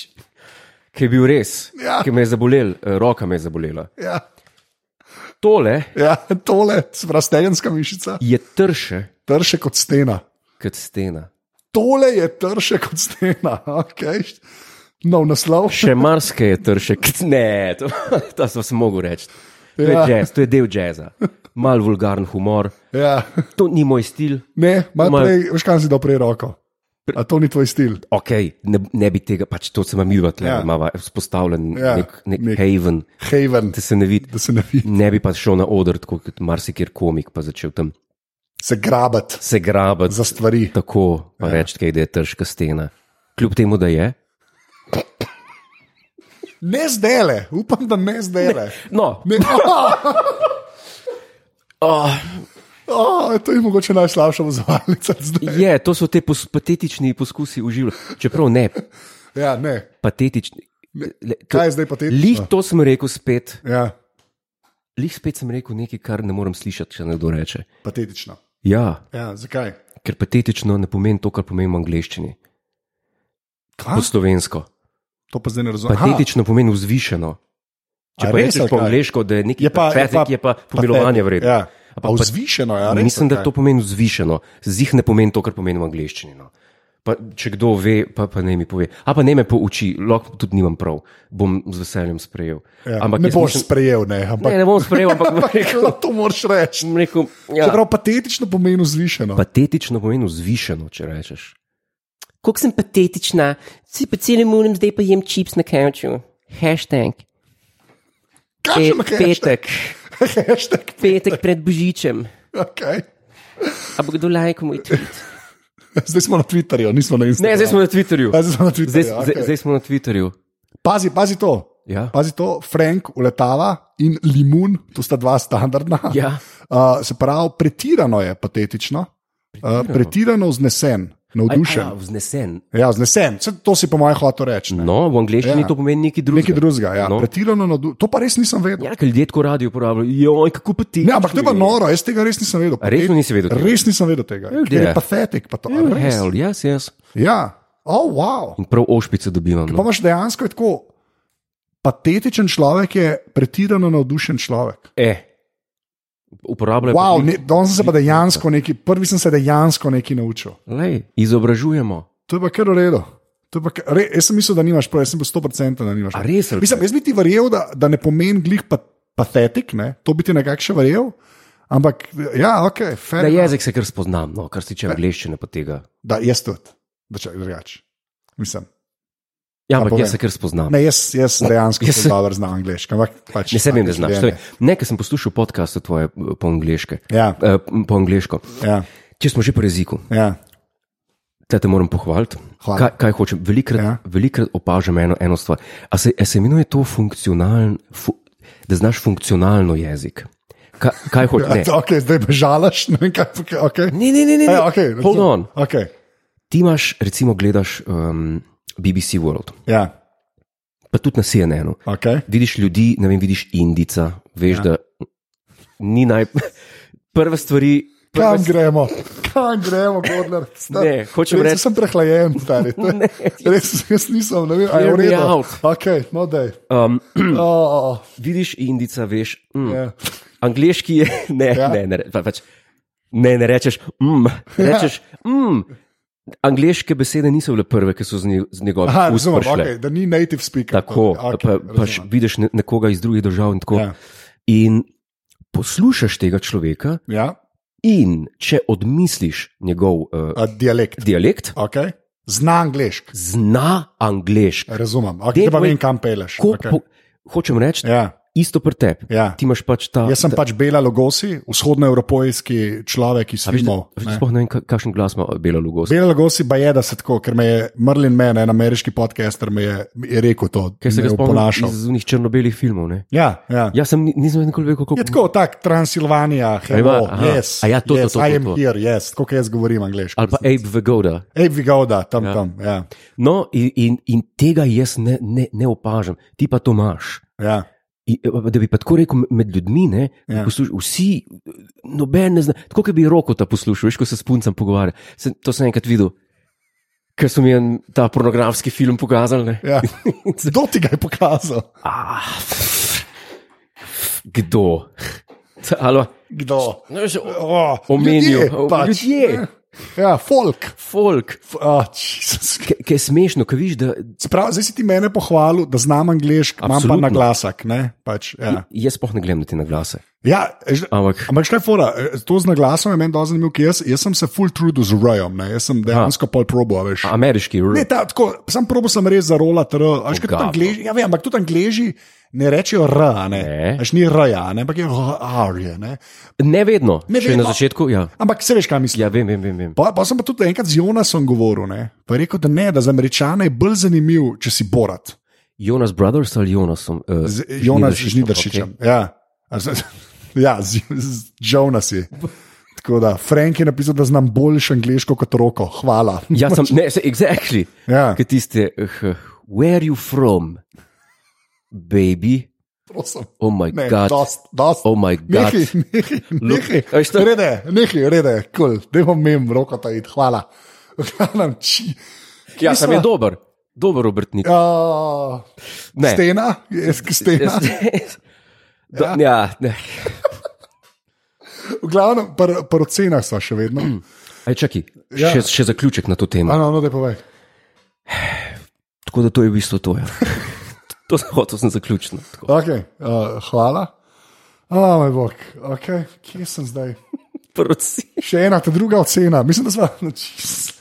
Speaker 1: Ker je bil res,
Speaker 2: Ja.
Speaker 1: ker me je zabolel, eh, roka me je zabolela.
Speaker 2: Ja,
Speaker 1: Tole
Speaker 2: ja tole, sprav stegenska mišica,
Speaker 1: je trše
Speaker 2: trše kot stena.
Speaker 1: kot stena.
Speaker 2: Tole je trše kot stena. Okay. No, naslov.
Speaker 1: Še marsikaj je trše, kot ne, to, to sem se mogel reči. To je,
Speaker 2: Ja.
Speaker 1: jazz, to je del jazza, mal vulgaren humor,
Speaker 2: Ja.
Speaker 1: to ni moj stil.
Speaker 2: Ne, malo
Speaker 1: Malo-
Speaker 2: prej, veš, kam si dal prej roko. A to ni tvoj stil.
Speaker 1: okay, ne, ne bi tega, pač to se vam idva tle,
Speaker 2: Ja.
Speaker 1: imava vzpostavljen
Speaker 2: Ja,
Speaker 1: nek, nek, nek
Speaker 2: nek-
Speaker 1: haven,
Speaker 2: Haven,
Speaker 1: da se ne vidi.
Speaker 2: da se ne vidi,
Speaker 1: Ne bi pa šel na oder, tako kot marsikjer komik, pa začel tam
Speaker 2: se grabati
Speaker 1: se grabati,
Speaker 2: za stvari.
Speaker 1: tako pa ja. reči, kaj, da je težka stena. Kljub temu, da je.
Speaker 2: Ne zdele, upam, da ne zdele.
Speaker 1: No,
Speaker 2: Ne. Ah. Oh,
Speaker 1: oh,
Speaker 2: oh, to je mogoče najslabša vzvalnica zdaj.
Speaker 1: je, to so te pos, patetični poskusi uživati. Čeprav ne,
Speaker 2: Ja, ne.
Speaker 1: patetični. Le, to-
Speaker 2: Kaj je zdaj patetično?
Speaker 1: Lih to sem rekel spet,
Speaker 2: Ja,
Speaker 1: lih spet sem rekel nekaj, kar ne morem slišati, če nekdo reče.
Speaker 2: patetično.
Speaker 1: Ja,
Speaker 2: Ja, zakaj?
Speaker 1: ker patetično ne pomeni to, kar pomeni v angleščini,
Speaker 2: Kaj?
Speaker 1: po slovensko.
Speaker 2: To pa zdaj ne razumem.
Speaker 1: Patetično pomeni vzvišeno. Če
Speaker 2: A
Speaker 1: pa
Speaker 2: res,
Speaker 1: rečeš
Speaker 2: ali
Speaker 1: po
Speaker 2: kaj?
Speaker 1: angliško, da je nekaj
Speaker 2: Je pa- je
Speaker 1: patetik,
Speaker 2: pa
Speaker 1: je pa
Speaker 2: patet-
Speaker 1: pomilovanje vredno.
Speaker 2: ja. Pa, vzvišeno, ja, res,
Speaker 1: Mislim, da
Speaker 2: ali
Speaker 1: to
Speaker 2: kaj?
Speaker 1: pomeni vzvišeno. Zih ne pomeni to, kar pomeni v angleščini. No. Pa, če kdo ve, pa, pa ne mi pove. A pa ne me pouči, lahko tudi nimam prav, bom z veseljem sprejel.
Speaker 2: Ja, ne
Speaker 1: jaz
Speaker 2: boš
Speaker 1: mislim-
Speaker 2: sprejel, ne, ampak
Speaker 1: ne, ne bom sprejel, ampak bom rekel,
Speaker 2: to moraš reči.
Speaker 1: bom rekel
Speaker 2: Ja.
Speaker 1: ja.
Speaker 2: Čeprav patetično pomeni zvišeno.
Speaker 1: patetično pomeni vzvišeno, če rečeš. Kako sem patetična, si pa celim unem zdaj pa jem čips na kavču. Hashtag.
Speaker 2: Kakšen hashtag? Hashtag,
Speaker 1: petek pred božičem.
Speaker 2: okay.
Speaker 1: Ampak kdo lajka moj tweet?
Speaker 2: Zdaj smo na Twitterju, nismo na Instagramu.
Speaker 1: Ne, zdaj smo na Twitterju.
Speaker 2: A, zdaj smo na Twitterju,
Speaker 1: Zdaj,
Speaker 2: okej.
Speaker 1: zdaj, zdaj smo na Twitterju.
Speaker 2: Pazi, pazi to.
Speaker 1: Ja.
Speaker 2: Pazi to, Frank uletava in limun, to sta dva standardna.
Speaker 1: Ja.
Speaker 2: Uh, se pravi, pretirano je patetično, pretirano, uh, pretirano vznesen, navdušen.
Speaker 1: Aja, vznesen.
Speaker 2: Ja, vznesen, Saj to si po mojem hotel reči. ne.
Speaker 1: No, v angleščini ja.
Speaker 2: Ja.
Speaker 1: to pomeni nekaj drugega.
Speaker 2: Nekaj drugega, ja. no.
Speaker 1: No.
Speaker 2: pretirano navdušen. To pa res nisem vedel.
Speaker 1: Ja, ker ljudje tako radi uporabljajo. Joj, kako pa ti?
Speaker 2: Ne, ampak to je pa noro, jaz tega res nisem vedel.
Speaker 1: A resno nisi vedel tega?
Speaker 2: Res nisem vedel tega.
Speaker 1: Ja,
Speaker 2: Ker je
Speaker 1: ja.
Speaker 2: patetik, pa to. a res?
Speaker 1: Hell, jaz, jaz.
Speaker 2: Ja, oh, wow.
Speaker 1: In prav ošpice dobivam.
Speaker 2: Pa
Speaker 1: No.
Speaker 2: imaš dejansko je tako. Patetičen človek je pretirano navdušen človek.
Speaker 1: E, uporabljajo.
Speaker 2: Wow, ne, danes sem se pa dejansko nekaj, prvi sem se dejansko nekaj naučil.
Speaker 1: Lej, izobražujemo.
Speaker 2: To je pa kar v redu. To je pa kar- Re, jaz sem mislil, da nimaš prav, jaz sem bil 100% da nimaš
Speaker 1: A
Speaker 2: prav.
Speaker 1: res? ali
Speaker 2: Mislim,
Speaker 1: kaj?
Speaker 2: jaz bi ti verjel, da, da ne pomeni glih pa, patetik, ne? to bi ti nekako še verjel. Ampak, ja, ok, fair.
Speaker 1: Na
Speaker 2: enough.
Speaker 1: jezik se kar spoznam, no, kar se tiče angleščine pa tega.
Speaker 2: Da, jaz tudi, da če drugače. Mislim.
Speaker 1: Ja, ampak
Speaker 2: povej.
Speaker 1: jaz se kar spoznam.
Speaker 2: Ne, jaz, jaz dejansko
Speaker 1: Jaz-
Speaker 2: nisem dobro znal angliško. Ampak, pač,
Speaker 1: Ne, se vem, da
Speaker 2: tako
Speaker 1: znaš.
Speaker 2: življenje.
Speaker 1: to je- Ne, ker sem poslušal podcaste tvoje eh, po, angliške,
Speaker 2: Ja,
Speaker 1: eh, po angliško.
Speaker 2: ja,
Speaker 1: Če smo že pri jeziku,
Speaker 2: ja.
Speaker 1: te, te moram pohvaliti.
Speaker 2: Hvala.
Speaker 1: Kaj, kaj hočem? Velikrat,
Speaker 2: Ja.
Speaker 1: ja. velikrat opažam eno, eno stvar. A se, a se imenuje to funkcionalen, fu, da znaš funkcionalno jezik? Kaj, kaj
Speaker 2: Ja,
Speaker 1: hočeš? Ne.
Speaker 2: Okay, zdaj bežalaš, ne vem kaj. Okay.
Speaker 1: Ne, ne, ne, ne. ne.
Speaker 2: Ja, okay,
Speaker 1: Hold on.
Speaker 2: Okay,
Speaker 1: Ti imaš, recimo, gledaš um, BBC World,
Speaker 2: ja,
Speaker 1: pa tudi na CNN-u.
Speaker 2: okay.
Speaker 1: Vidiš ljudi, ne vem, vidiš Indica, veš, ja. da ni naj. Prve stvari. Prve
Speaker 2: Kam gremo, kam gremo, Gordler?
Speaker 1: Ne, hočem reči-
Speaker 2: Sem prehlajen, stari. Ne, res, jaz nisem, ne vem, ali je
Speaker 1: Hear
Speaker 2: v
Speaker 1: me
Speaker 2: redu.
Speaker 1: out.
Speaker 2: Okay, no, daj.
Speaker 1: Um,
Speaker 2: Oh,
Speaker 1: vidiš Indica, veš. Mm.
Speaker 2: ja.
Speaker 1: Angliški je, ne, ja.
Speaker 2: Ja.
Speaker 1: ne, ne, pa, pač, ne, ne rečeš, mm,
Speaker 2: Ja.
Speaker 1: rečeš, mm. Angliške besede niso bile prve, ki so z, nje, z njegovih
Speaker 2: Aha,
Speaker 1: ust
Speaker 2: razumem,
Speaker 1: prišle.
Speaker 2: okay, da ni native speaker.
Speaker 1: Tako,
Speaker 2: okay,
Speaker 1: pa,
Speaker 2: razumem.
Speaker 1: pač vidiš ne- nekoga iz drugih držav in tako.
Speaker 2: Ja.
Speaker 1: Ja. In poslušaš tega človeka,
Speaker 2: ja,
Speaker 1: in če odmisliš njegov uh,
Speaker 2: a, dialekt.
Speaker 1: dialekt,
Speaker 2: Okay. Zna angliško,
Speaker 1: zna angliško.
Speaker 2: razumem,
Speaker 1: Dej
Speaker 2: okay, pa
Speaker 1: moj-
Speaker 2: vem, kam peleš.
Speaker 1: Okay. Po, hočem reči, ja.
Speaker 2: Ja,
Speaker 1: isto pri tebi.
Speaker 2: ja.
Speaker 1: Ti imaš pač ta.
Speaker 2: Jaz sem pač Bela Lugosi, vzhodnoevropejski človek iz
Speaker 1: A veš, da-
Speaker 2: filmov.
Speaker 1: veš, da
Speaker 2: ne.
Speaker 1: Sploh ne vem, ka- kakšen glas ima Bela Lugosa.
Speaker 2: Bela Lugosi pa je, da se tako, ker me je Merlin Man, en ameriški podcaster, me je, je rekel to,
Speaker 1: Ker se
Speaker 2: me
Speaker 1: ga
Speaker 2: je
Speaker 1: spomnim
Speaker 2: oponašal.
Speaker 1: iz unih črno-belih filmov. Ne?
Speaker 2: Ja, ja.
Speaker 1: Jaz sem, ni- nisem nikoli vedel, kako
Speaker 2: Je Ja, tako, tako Transilvanija,
Speaker 1: Ima,
Speaker 2: hello,
Speaker 1: aha.
Speaker 2: yes,
Speaker 1: A ja, to, to,
Speaker 2: yes,
Speaker 1: to, to,
Speaker 2: I am
Speaker 1: to.
Speaker 2: here, yes, tako kot jaz govorim angliško.
Speaker 1: Ali pa Abe Vegoda.
Speaker 2: Ej, Vigoda, tam, ja. tam, ja.
Speaker 1: No, in, in, in tega jaz ne, ne, ne opažam, ti pa to imaš.
Speaker 2: ja.
Speaker 1: In, eh, Da bi pa tako rekel med ljudmi, ne,
Speaker 2: Ja.
Speaker 1: ja. posluš, vsi, eh, noben ne zna. Tako kot bi roko ta poslušal, veš, ko se s puncem pogovarja. Sem, to sem enkrat videl, ker so mi en ta pornografski film pokazali. ne.
Speaker 2: ja. Kdo ti ga je pokazal?
Speaker 1: Ah, kdo? Alo,
Speaker 2: Kdo?
Speaker 1: no, že
Speaker 2: Oh,
Speaker 1: omenil,
Speaker 2: ljudje, pač.
Speaker 1: ljudje.
Speaker 2: Ja, folk.
Speaker 1: folk.
Speaker 2: F- ah, Jesus.
Speaker 1: Ki je smešno, ki viš, da
Speaker 2: Sprav, zdaj si ti mene pohvalil, da znam angliško, imam pa
Speaker 1: Absolutno.
Speaker 2: na glasak. ne, Pač, ja.
Speaker 1: jaz sploh ne gledam na te naglase.
Speaker 2: Ja, ž-
Speaker 1: Ampak
Speaker 2: Ampak škaj fora, eh, to z naglasom je meni dosti zanimivo, ker jaz, jaz sem se full trudil z rojem, ne, jaz sem dejansko pol probo, a veš.
Speaker 1: ameriški, ne,
Speaker 2: Ne, ta, tako, sam probo sem res zarola, až kot tudi
Speaker 1: Ogabno.
Speaker 2: angleži, ja, vem, ampak tudi angleži ne rečejo R, a ne.
Speaker 1: Ne.
Speaker 2: Až ni R, a ne, ampak je R, je, ne.
Speaker 1: ne vedno,
Speaker 2: Ne
Speaker 1: ne še vedno.
Speaker 2: vedno.
Speaker 1: na začetku. Ja,
Speaker 2: Ampak se veš, kaj mislim.
Speaker 1: ja vem, vem, vem. vem.
Speaker 2: Pa, pa sem pa tudi enkrat z Jonasom govoril, ne, pa je rekel, da ne, da za američane je bolj zanimiv, če si borat.
Speaker 1: Jonas Brothers ali Jonas? Uh,
Speaker 2: Z Jonas Žnidaršičem. Okay. Ja, A z- ja z, z Jonas je. Tako da, Frank je napisal, da znam boljš angliško kot roko. Hvala.
Speaker 1: Okay. Ja, sem, ne, se, exactly.
Speaker 2: Ja,
Speaker 1: Kaj tiste, uh, where are you from, baby?
Speaker 2: prosim.
Speaker 1: Oh my
Speaker 2: Ne,
Speaker 1: god.
Speaker 2: dost, dost.
Speaker 1: Oh my god.
Speaker 2: Nehaj, nehaj, nehaj.
Speaker 1: A veš to?
Speaker 2: Rede, nehaj, rede, kul, cool. da bom imel roko ta id, hvala. Hvala, či.
Speaker 1: Ja, sem je
Speaker 2: Mislim-
Speaker 1: dober, dober obrtnik.
Speaker 2: Uh,
Speaker 1: Ne.
Speaker 2: stena, ja. jaz, stena.
Speaker 1: Jaz- Do, ja. Ja, ne.
Speaker 2: V glavnem, pri pr ocenah smo še vedno.
Speaker 1: Mm. Aj, čakaj,
Speaker 2: Ja.
Speaker 1: še, še zaključek na to temo.
Speaker 2: A, no, no, daj povej.
Speaker 1: Tako da to je v bistvu to. Ja. to sem hotel, sem zaključil. no, tako.
Speaker 2: Okay, uh, hvala. Oh, moj bog, okay, kje sem zdaj?
Speaker 1: Prvoci.
Speaker 2: Še ena, ta druga ocena, mislim, da smo na čisto.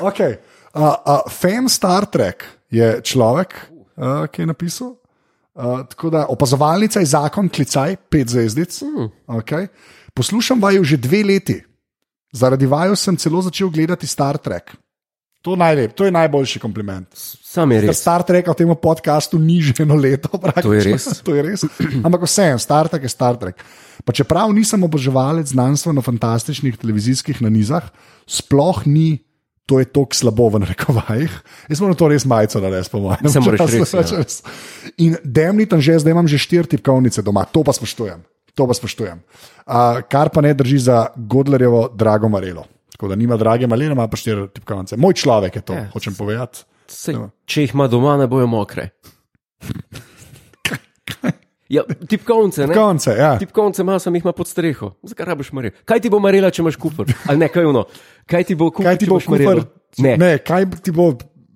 Speaker 2: Okay. Uh, uh, Fan Star Trek je človek, uh, ki je napisal. Uh, tako da opazovalnica je zakon, klicaj, pet zvezdic. Mm. Okay. Poslušam vaju že dve leti, zaradi vaju sem celo začel gledati Star Trek. To, najlep, to je najboljši kompliment.
Speaker 1: Sam je
Speaker 2: Ker
Speaker 1: res.
Speaker 2: Star Trek v tem podkastu ni že eno leto. praktično.
Speaker 1: je res.
Speaker 2: to je res. Ampak vseeno, Star Trek je Star Trek. Pa čeprav nisem oboževalec znanstveno-fantastičnih televizijskih nanizah, sploh ni. To je tako slabo v narekovajih. Jaz moram to res majico narediti, po mojem.
Speaker 1: Saj moraš res, ja.
Speaker 2: res. In demni tam že, zdaj imam že štiri tipkovnice doma, to pa spoštujem. To pa spoštujem. Uh, kar pa ne drži za Godlerjevo drago Marelo. Tako da nima drage Marele, ima pa štiri tipkovnice. Moj človek je to,
Speaker 1: Ja.
Speaker 2: hočem povedati.
Speaker 1: Sej,
Speaker 2: No.
Speaker 1: če jih ima doma, ne bojo mokre. Ja, tipkovnice, ne?
Speaker 2: Konce, ja.
Speaker 1: Tipkovnice ima, sem jih ima pod streho. Zakaj rabiš marel? Kaj ti bo marela, če imaš kupr? Ali ne, kaj ono? Kaj ti bo kupr?
Speaker 2: Kaj ti
Speaker 1: če
Speaker 2: bo
Speaker 1: imaš marelo?
Speaker 2: kufr?
Speaker 1: Ne, ne,
Speaker 2: ne, kaj ti bo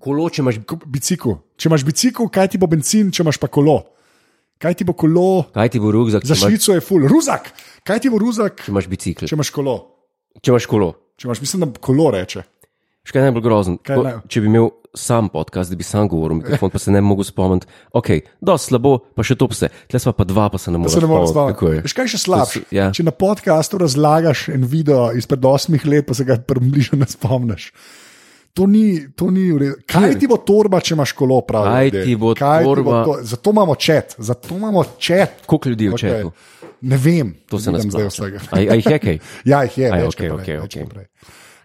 Speaker 1: kolo, če imaš.
Speaker 2: bicikl? Če imaš bicikl, kaj ti bo benzin, če imaš pa kolo? Kaj ti bo kolo?
Speaker 1: Kaj ti bo rugzak,
Speaker 2: Za
Speaker 1: če imaš,
Speaker 2: Švico je ful, ruzak. Kaj ti bo ruzak,
Speaker 1: če imaš bicikl?
Speaker 2: če imaš kolo?
Speaker 1: Če imaš kolo.
Speaker 2: Če imaš, mislim, da kolo reče.
Speaker 1: Še kaj najbolj grozen.
Speaker 2: Kaj
Speaker 1: Ko,
Speaker 2: naj-
Speaker 1: če bi imel sam podcast, da bi sam govoril, mikrofon pa se ne bi mogel spomniti. Ok, do slabo, pa še to pse. Tle sva pa dva, pa se ne moreš
Speaker 2: Se ne moreš
Speaker 1: spomniti. Tako je.
Speaker 2: spomniti. Veš, kaj je še slabše?
Speaker 1: To so- ja.
Speaker 2: Če na podkastu razlagaš en video izpred osmih let, pa se ga približno ne spomniš. To ni, to ni v redu. Kaj ti bo torba, če imaš kolo prav?
Speaker 1: Kaj ti bo torba?
Speaker 2: Zato imamo čet, zato imamo čet.
Speaker 1: Koliko ljudi je v
Speaker 2: Okej.
Speaker 1: četu?
Speaker 2: Ne vem,
Speaker 1: To se
Speaker 2: ne
Speaker 1: ne
Speaker 2: vem zdaj
Speaker 1: splača.
Speaker 2: vsega.
Speaker 1: A a jih je kaj?
Speaker 2: Ja, jih je,
Speaker 1: Aj,
Speaker 2: več
Speaker 1: okej,
Speaker 2: kot
Speaker 1: okej,
Speaker 2: prej, več
Speaker 1: okej.
Speaker 2: kot prej.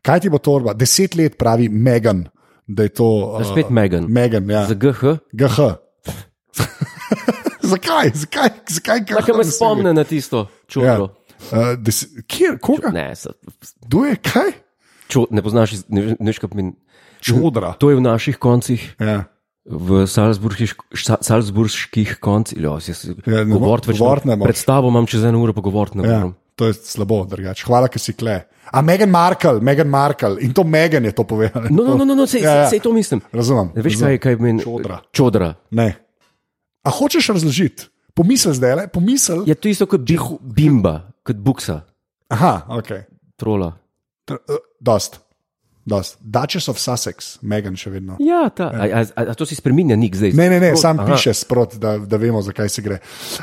Speaker 2: Kaj ti bo torba? Deset let pravi Megan, da je to. Uh,
Speaker 1: Ja, Spet Megan.
Speaker 2: Megan, ja.
Speaker 1: Za GH?
Speaker 2: GH. zakaj? Zakaj? Zakaj?
Speaker 1: Kaj me spomne na tisto čudno?
Speaker 2: Uh, des, kjer, koga?
Speaker 1: Ne, se-
Speaker 2: Kdo je kaj?
Speaker 1: ču, ne poznaš, iz- ne, ne veš, kaj pomeni.
Speaker 2: Čudra.
Speaker 1: To je v naših koncih,
Speaker 2: Ja.
Speaker 1: v salzburških, sa- salzburških koncih. Ja,
Speaker 2: Ja, ne mo-
Speaker 1: govoriti več
Speaker 2: govoriti ne moreš.
Speaker 1: Predstavo imam čez eno uro, pa govoriti ne
Speaker 2: Ja,
Speaker 1: morem.
Speaker 2: to je slabo, drugače. Hvala, ker si kle. A Megan Markle, Megan Markle in to Megan je to povedala.
Speaker 1: No, no, no, no, no sej, ja, ja.
Speaker 2: Ja, ja.
Speaker 1: sej to mislim.
Speaker 2: Razumem.
Speaker 1: Ne veš, kaj, kaj meni?
Speaker 2: Čodra.
Speaker 1: Čodra.
Speaker 2: Ne. A hočeš razložiti? Pomisel zdaj le, pomisel.
Speaker 1: Je to isto kot bih, bimba, kot buksa,
Speaker 2: Aha, ok.
Speaker 1: trola.
Speaker 2: Tr, uh, dost. Dost. Duchess of Sussex, Megan še vedno.
Speaker 1: Ja, ta. A, a, a, a to si spremenja nik zdaj.
Speaker 2: Ne, ne, ne, sam
Speaker 1: aha.
Speaker 2: piše sprot, da, da vemo, zakaj se gre.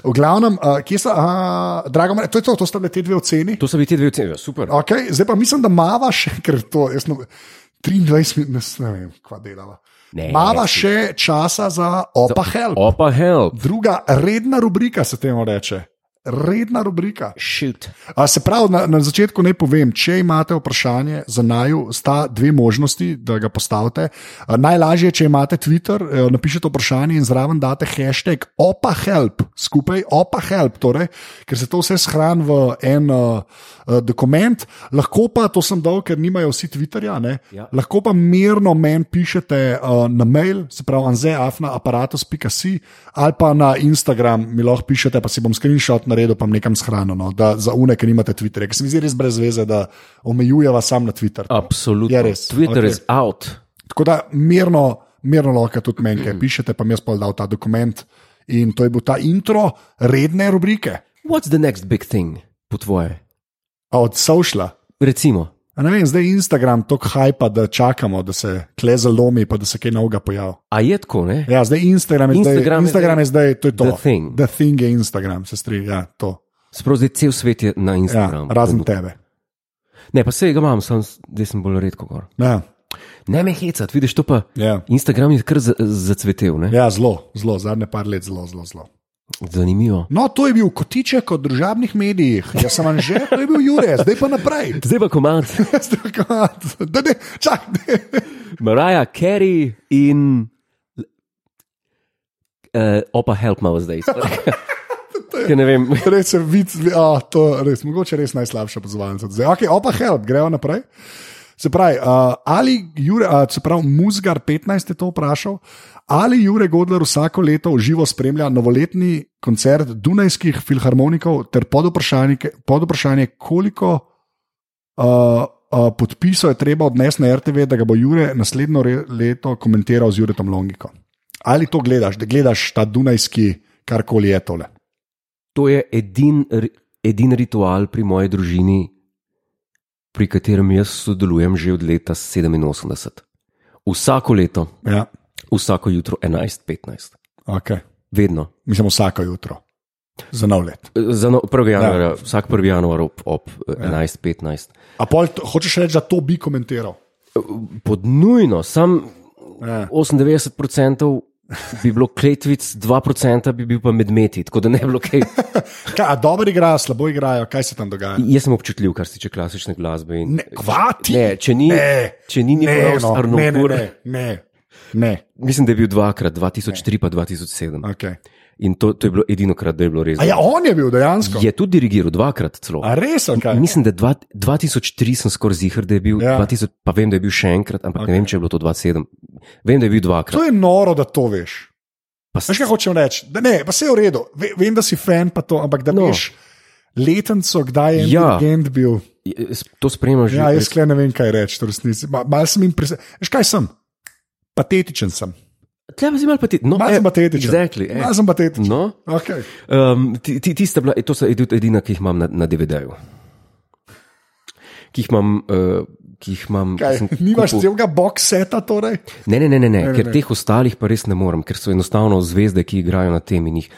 Speaker 2: V glavnem, uh, kje so, uh, drago, to je to, to sta bile te dve oceni.
Speaker 1: To so bili ti dve oceni, ja, super.
Speaker 2: Okay, zdaj pa mislim, da mava še, ker to, jaz ne, 23 minut, nas- ne vem, kva delava.
Speaker 1: Ne,
Speaker 2: Mava
Speaker 1: si-
Speaker 2: še časa za opa help.
Speaker 1: Opa, help,
Speaker 2: Druga redna rubrika se temu reče. Redna rubrika.
Speaker 1: shoot.
Speaker 2: A se pravi, na, na začetku naj povem, če imate vprašanje za naju, sta dve možnosti, da ga postavite. A, Najlažje je, če imate Twitter, eh, napišete vprašanje in zraven date hashtag opahelp, skupaj opahelp, torej, ker se to vse shrani v en uh, uh, dokument. Lahko pa, to sem dal, ker nimajo vsi Twitterja, ne,
Speaker 1: Ja.
Speaker 2: lahko pa mirno meni pišete uh, na mail, se pravi, anzeafnaaparatus.si ali pa na Instagram mi lahko pišete, pa si bom screenshot naredil, pa bom nekam shranjeno, da za une, ki nimate Twitterja, ker se mi zdi res brez veze, da omejujeva sam na Twitter.
Speaker 1: Absolutno.
Speaker 2: Ja, res,
Speaker 1: Twitter
Speaker 2: okej.
Speaker 1: okay. is out.
Speaker 2: Tako da mirno, mirno lahko tudi meni, kaj pišete, pa mi jaz pa dal ta dokument. In to je bil ta intro redne rubrike,
Speaker 1: What's the next big thing, po tvoje?
Speaker 2: a od Sošla.
Speaker 1: Recimo,
Speaker 2: A Ne vem, zdaj je Instagram tako hajpa, da čakamo, da se kle zalomi, pa da se kaj novega pojavi.
Speaker 1: a je tako, ne?
Speaker 2: Ja, zdaj Instagram je zdaj,
Speaker 1: Instagram je
Speaker 2: Instagram je zdaj to je to.
Speaker 1: The thing.
Speaker 2: The thing je Instagram, se strinjam, ja, to.
Speaker 1: Sprav zdaj cel svet je na
Speaker 2: Ja,
Speaker 1: Instagramu.
Speaker 2: razen tebe.
Speaker 1: Ne, pa se ga imam, sam zdaj sem bolj redko gor.
Speaker 2: Ja,
Speaker 1: Ne me hecat, vidiš to pa.
Speaker 2: ja.
Speaker 1: Instagram je kar za- zacvetel, ne?
Speaker 2: ja zelo, zelo, zadnje par let zelo, zelo, zelo.
Speaker 1: Zanimivo.
Speaker 2: No, to je bil kotiček o družabnih medijih, jaz sem anže, to je bil Jure, zdaj pa naprej.
Speaker 1: Zdaj pa komand.
Speaker 2: Zdaj pa- da ne, čak, ne.
Speaker 1: Mariah Carey in uh, Opa Help malo zdaj. Ker ne vem,
Speaker 2: Res je, vid, a, to je res, mogoče res najslabša pozvalnica. Zdaj, ok, opa, help, gremo naprej. Se pravi, uh, ali Jure, uh, se pravi, Muzgar 15 je to vprašal, ali Jure Godler vsako leto v živo spremlja novoletni koncert Dunajskih filharmonikov ter pod vprašanje, pod vprašanje koliko uh, uh, podpisov je treba odnesti na RTV, da ga bo Jure naslednjo re, leto komentiral z Juretom Longikom. Ali to gledaš, da gledaš ta Dunajski, karkoli je tole?
Speaker 1: To je edin, edin ritual pri moji družini, pri katerem jaz sodelujem že od leta 87. Vsako leto,
Speaker 2: Ja,
Speaker 1: vsako jutro 11:15,
Speaker 2: okay.
Speaker 1: vedno.
Speaker 2: Mislim, vsako jutro, za nov let.
Speaker 1: Za no, 1. januar, ja. vsak 1. januar ob, ob ja. 11:15.
Speaker 2: A pol t- hočeš reči, da to bi komentiral?
Speaker 1: Pod nujno, sam
Speaker 2: Ja.
Speaker 1: 98% bi bilo kletvic, 2% bi bil pa medmeti, tako da ne bi bilo kaj.
Speaker 2: Kaj, a dobro igrajo, slabo igrajo, kaj se tam dogaja?
Speaker 1: Jaz sem občutljiv, kar se tiče klasične glasbe. In,
Speaker 2: Ne, kvati.
Speaker 1: ne, če ni,
Speaker 2: ne,
Speaker 1: če ni
Speaker 2: ne,
Speaker 1: Nikolaj
Speaker 2: no,
Speaker 1: Arnold,
Speaker 2: ne, ne, ne, ne, ne.
Speaker 1: mislim, da je bil dvakrat, 2003 pa 2007.
Speaker 2: Okay.
Speaker 1: In to, to je bilo edino krat, da je bilo res.
Speaker 2: A ja, on je bil dejansko.
Speaker 1: Je tudi dirigiral dva-krat celo.
Speaker 2: A res, okay.
Speaker 1: Mislim, da dva, 2003 sem skoraj zihar, da je bil,
Speaker 2: Ja.
Speaker 1: ja. 2000, pa vem, da je bil še enkrat, ampak okay. ne vem, če je bilo to 2007. Vem, da je bil dvakrat.
Speaker 2: to je noro, da to veš.
Speaker 1: Pa
Speaker 2: Veš,
Speaker 1: s-
Speaker 2: kaj hočem reči? Da, ne, pa vse je v redu, Ve, vem, da si fan, pa to, ampak da no.
Speaker 1: No.
Speaker 2: veš letenco, kdaj je en
Speaker 1: Ja.
Speaker 2: dirigent bil.
Speaker 1: To spremljam že.
Speaker 2: Ja, jaz kle ne vem, kaj reči, to resnici. Ma- Mal sem jim presen. Veš, kaj sem? Patetičen sem.
Speaker 1: Tle pa si mal pati. No,
Speaker 2: Mal
Speaker 1: eh,
Speaker 2: sem patetičen.
Speaker 1: Exactly, eh.
Speaker 2: Mal sem patetičen.
Speaker 1: No,
Speaker 2: Okay.
Speaker 1: um, ti, ti, tista bila, to so edi- edina, ki jih imam na, na DVD-ju. Ki jih imam, uh, ki jih imam. ki
Speaker 2: Kaj,
Speaker 1: sem
Speaker 2: nimaš
Speaker 1: kupil.
Speaker 2: celega box seta, torej?
Speaker 1: Ne, ne, ne, ne, ne, ker
Speaker 2: ne.
Speaker 1: teh ostalih pa res ne morem, ker so enostavno zvezde, ki igrajo na tem in jih,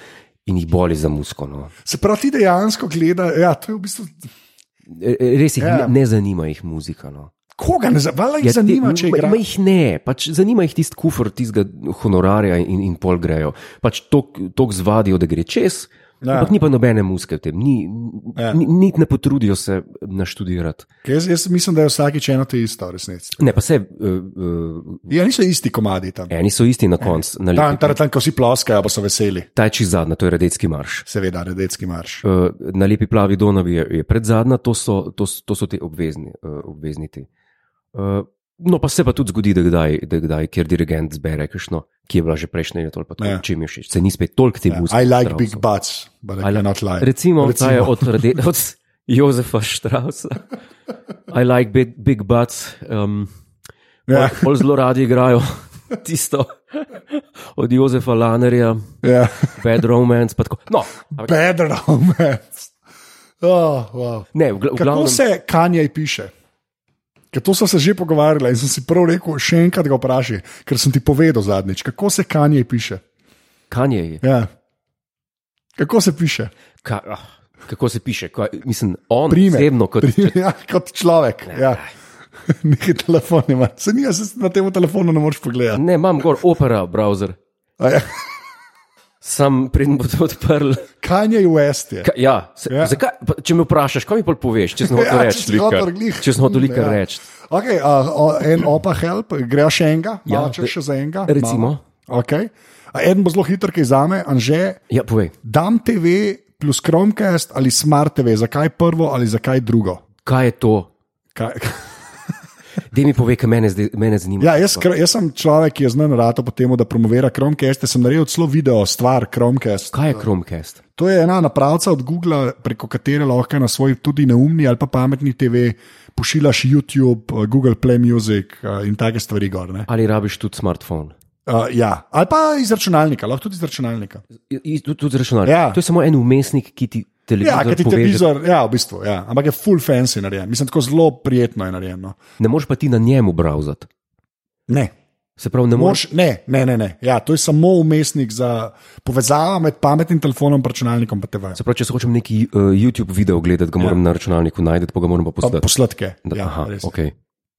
Speaker 1: in jih boli za musko. No.
Speaker 2: Se pravi, ti dejansko gledaš, ja, to je v bistvu.
Speaker 1: E, e, Res jih
Speaker 2: Ja.
Speaker 1: ja. ne, ne zanima jih muzika. No.
Speaker 2: Koga ne zanima,
Speaker 1: Ja,
Speaker 2: jih zanima,
Speaker 1: te-
Speaker 2: če
Speaker 1: ma-
Speaker 2: igra.
Speaker 1: ma jih ne, pač zanima jih tisti kufr, tistega honorarja in, in pol grejo. Pač tok zvadijo, da gre čez.
Speaker 2: Ja.
Speaker 1: Ja. Ampak ni pa nobene muske v tem, ni,
Speaker 2: Ja.
Speaker 1: ja. ni, ni ne potrudijo se naštudirati.
Speaker 2: Jaz, jaz mislim, da je vsakič eno te isto, v resnici.
Speaker 1: Ne, pa se, uh, uh,
Speaker 2: Ja, niso isti komadi tam.
Speaker 1: eni so isti na koncu, na
Speaker 2: Tam,
Speaker 1: lepi.
Speaker 2: tam, tam, ko si ploskajo, pa so veseli,
Speaker 1: Ta je čez zadnja, to je redetski marš.
Speaker 2: seveda, redetski marš.
Speaker 1: Eh, na lepi plavi Donavi je, je predzadnja, to so, to, so- to so te obvezni, uh, obvezni ti. Uh, no, pa se pa tudi zgodi, da kdaj, da kdaj kjer dirigent zbere, kakšno, ki je bila že prejšnje leto ali pa
Speaker 2: Ja.
Speaker 1: tako, če mi je všeč, se ni spet toliko te
Speaker 2: Ja,
Speaker 1: muske.
Speaker 2: I like big butts, but I
Speaker 1: I li-
Speaker 2: cannot lie.
Speaker 1: Recimo, ta je
Speaker 2: Recimo.
Speaker 1: od, rade, od Jozefa Strausa. I like big, big butts. Um,
Speaker 2: Ja.
Speaker 1: ja. Bolj zelo radi igrajo tisto od Jozefa Lanerja,
Speaker 2: Ja.
Speaker 1: Bad Romance. pa tako. No, ampak
Speaker 2: Bad romance. Oh, wow.
Speaker 1: ne, v, gla- v
Speaker 2: Kako
Speaker 1: glavnem.
Speaker 2: se Kanjaj piše? Ker to sem se že pogovarjala in sem si prav rekel, še enkrat ga vprašaj, ker sem ti povedal zadnjič, kako se Kanjaj piše.
Speaker 1: Kanje je.
Speaker 2: Ja. Kako se piše?
Speaker 1: Ka, ah, kako se piše, kaj, mislim, on
Speaker 2: Prime.
Speaker 1: osebno kot
Speaker 2: Pri, ja, kot človek. Ja. Nekaj telefon ima. Se ni, jaz na tem telefonu ne moreš pogledati.
Speaker 1: ne, imam gor opera, browser.
Speaker 2: A Ja.
Speaker 1: Sam pridem bo to odprl.
Speaker 2: Kanye West je.
Speaker 1: Ka, ja, se,
Speaker 2: Ja.
Speaker 1: ja. Zakaj, pa, če me vprašaš, kaj mi pol poveš, če smo
Speaker 2: Ja,
Speaker 1: hotel
Speaker 2: če
Speaker 1: reči,
Speaker 2: si hotel glih.
Speaker 1: lika. če smo hotel
Speaker 2: Ja.
Speaker 1: ja. reči.
Speaker 2: Okay, uh, o, en opa help, grejo še enega, ja,
Speaker 1: Ja,
Speaker 2: če še za enega.
Speaker 1: recimo.
Speaker 2: malo. Okay. A En bo zelo hiter, ki za me, anže,
Speaker 1: Ja, povej,
Speaker 2: dam TV plus Chromecast ali Smart TV, zakaj prvo ali zakaj drugo.
Speaker 1: kaj je to?
Speaker 2: Kaj?
Speaker 1: Dej mi povej, kaj mene, zdaj, mene zanima.
Speaker 2: Ja, jaz, kr- jaz sem človek, ki je znan rado po tem, da promovira Chromecast, sem naredil celo video stvar Chromecast.
Speaker 1: Kaj je Chromecast?
Speaker 2: To je ena napravca od Google, preko katere lahko na svoj tudi neumni ali pa pametni TV pošiljaš YouTube, eh, Google Play Music eh, in take stvari gor. ne.
Speaker 1: Ali rabiš tudi smartphone?
Speaker 2: Uh, ja. Ali pa iz računalnika, lahko tudi iz računalnika.
Speaker 1: I- i- Tudi, tudi z računalnikom.
Speaker 2: Ja.
Speaker 1: To je samo en umestnik, ki ti
Speaker 2: Ja,
Speaker 1: televizor
Speaker 2: kaj ti
Speaker 1: pove, da-
Speaker 2: televizor, ja, v bistvu, ja. ampak je full fancy narejen, mislim, tako zelo prijetno je narejen. No.
Speaker 1: Ne moreš pa ti na njemu browsati.
Speaker 2: Ne.
Speaker 1: Se pravi, ne moreš.
Speaker 2: Mož, ne, ne, ne, ne. Ja, to je samo umestnik za povezavo med pametnim telefonom in računalnikom. Pa TV.
Speaker 1: Se pravi, če se hočem neki uh, YouTube video ogledati, ga moram ja. na računalniku najti, pa ga moram pa
Speaker 2: Pa
Speaker 1: poslati.
Speaker 2: posladke.
Speaker 1: Da,
Speaker 2: Ja,
Speaker 1: aha,
Speaker 2: res.
Speaker 1: okay.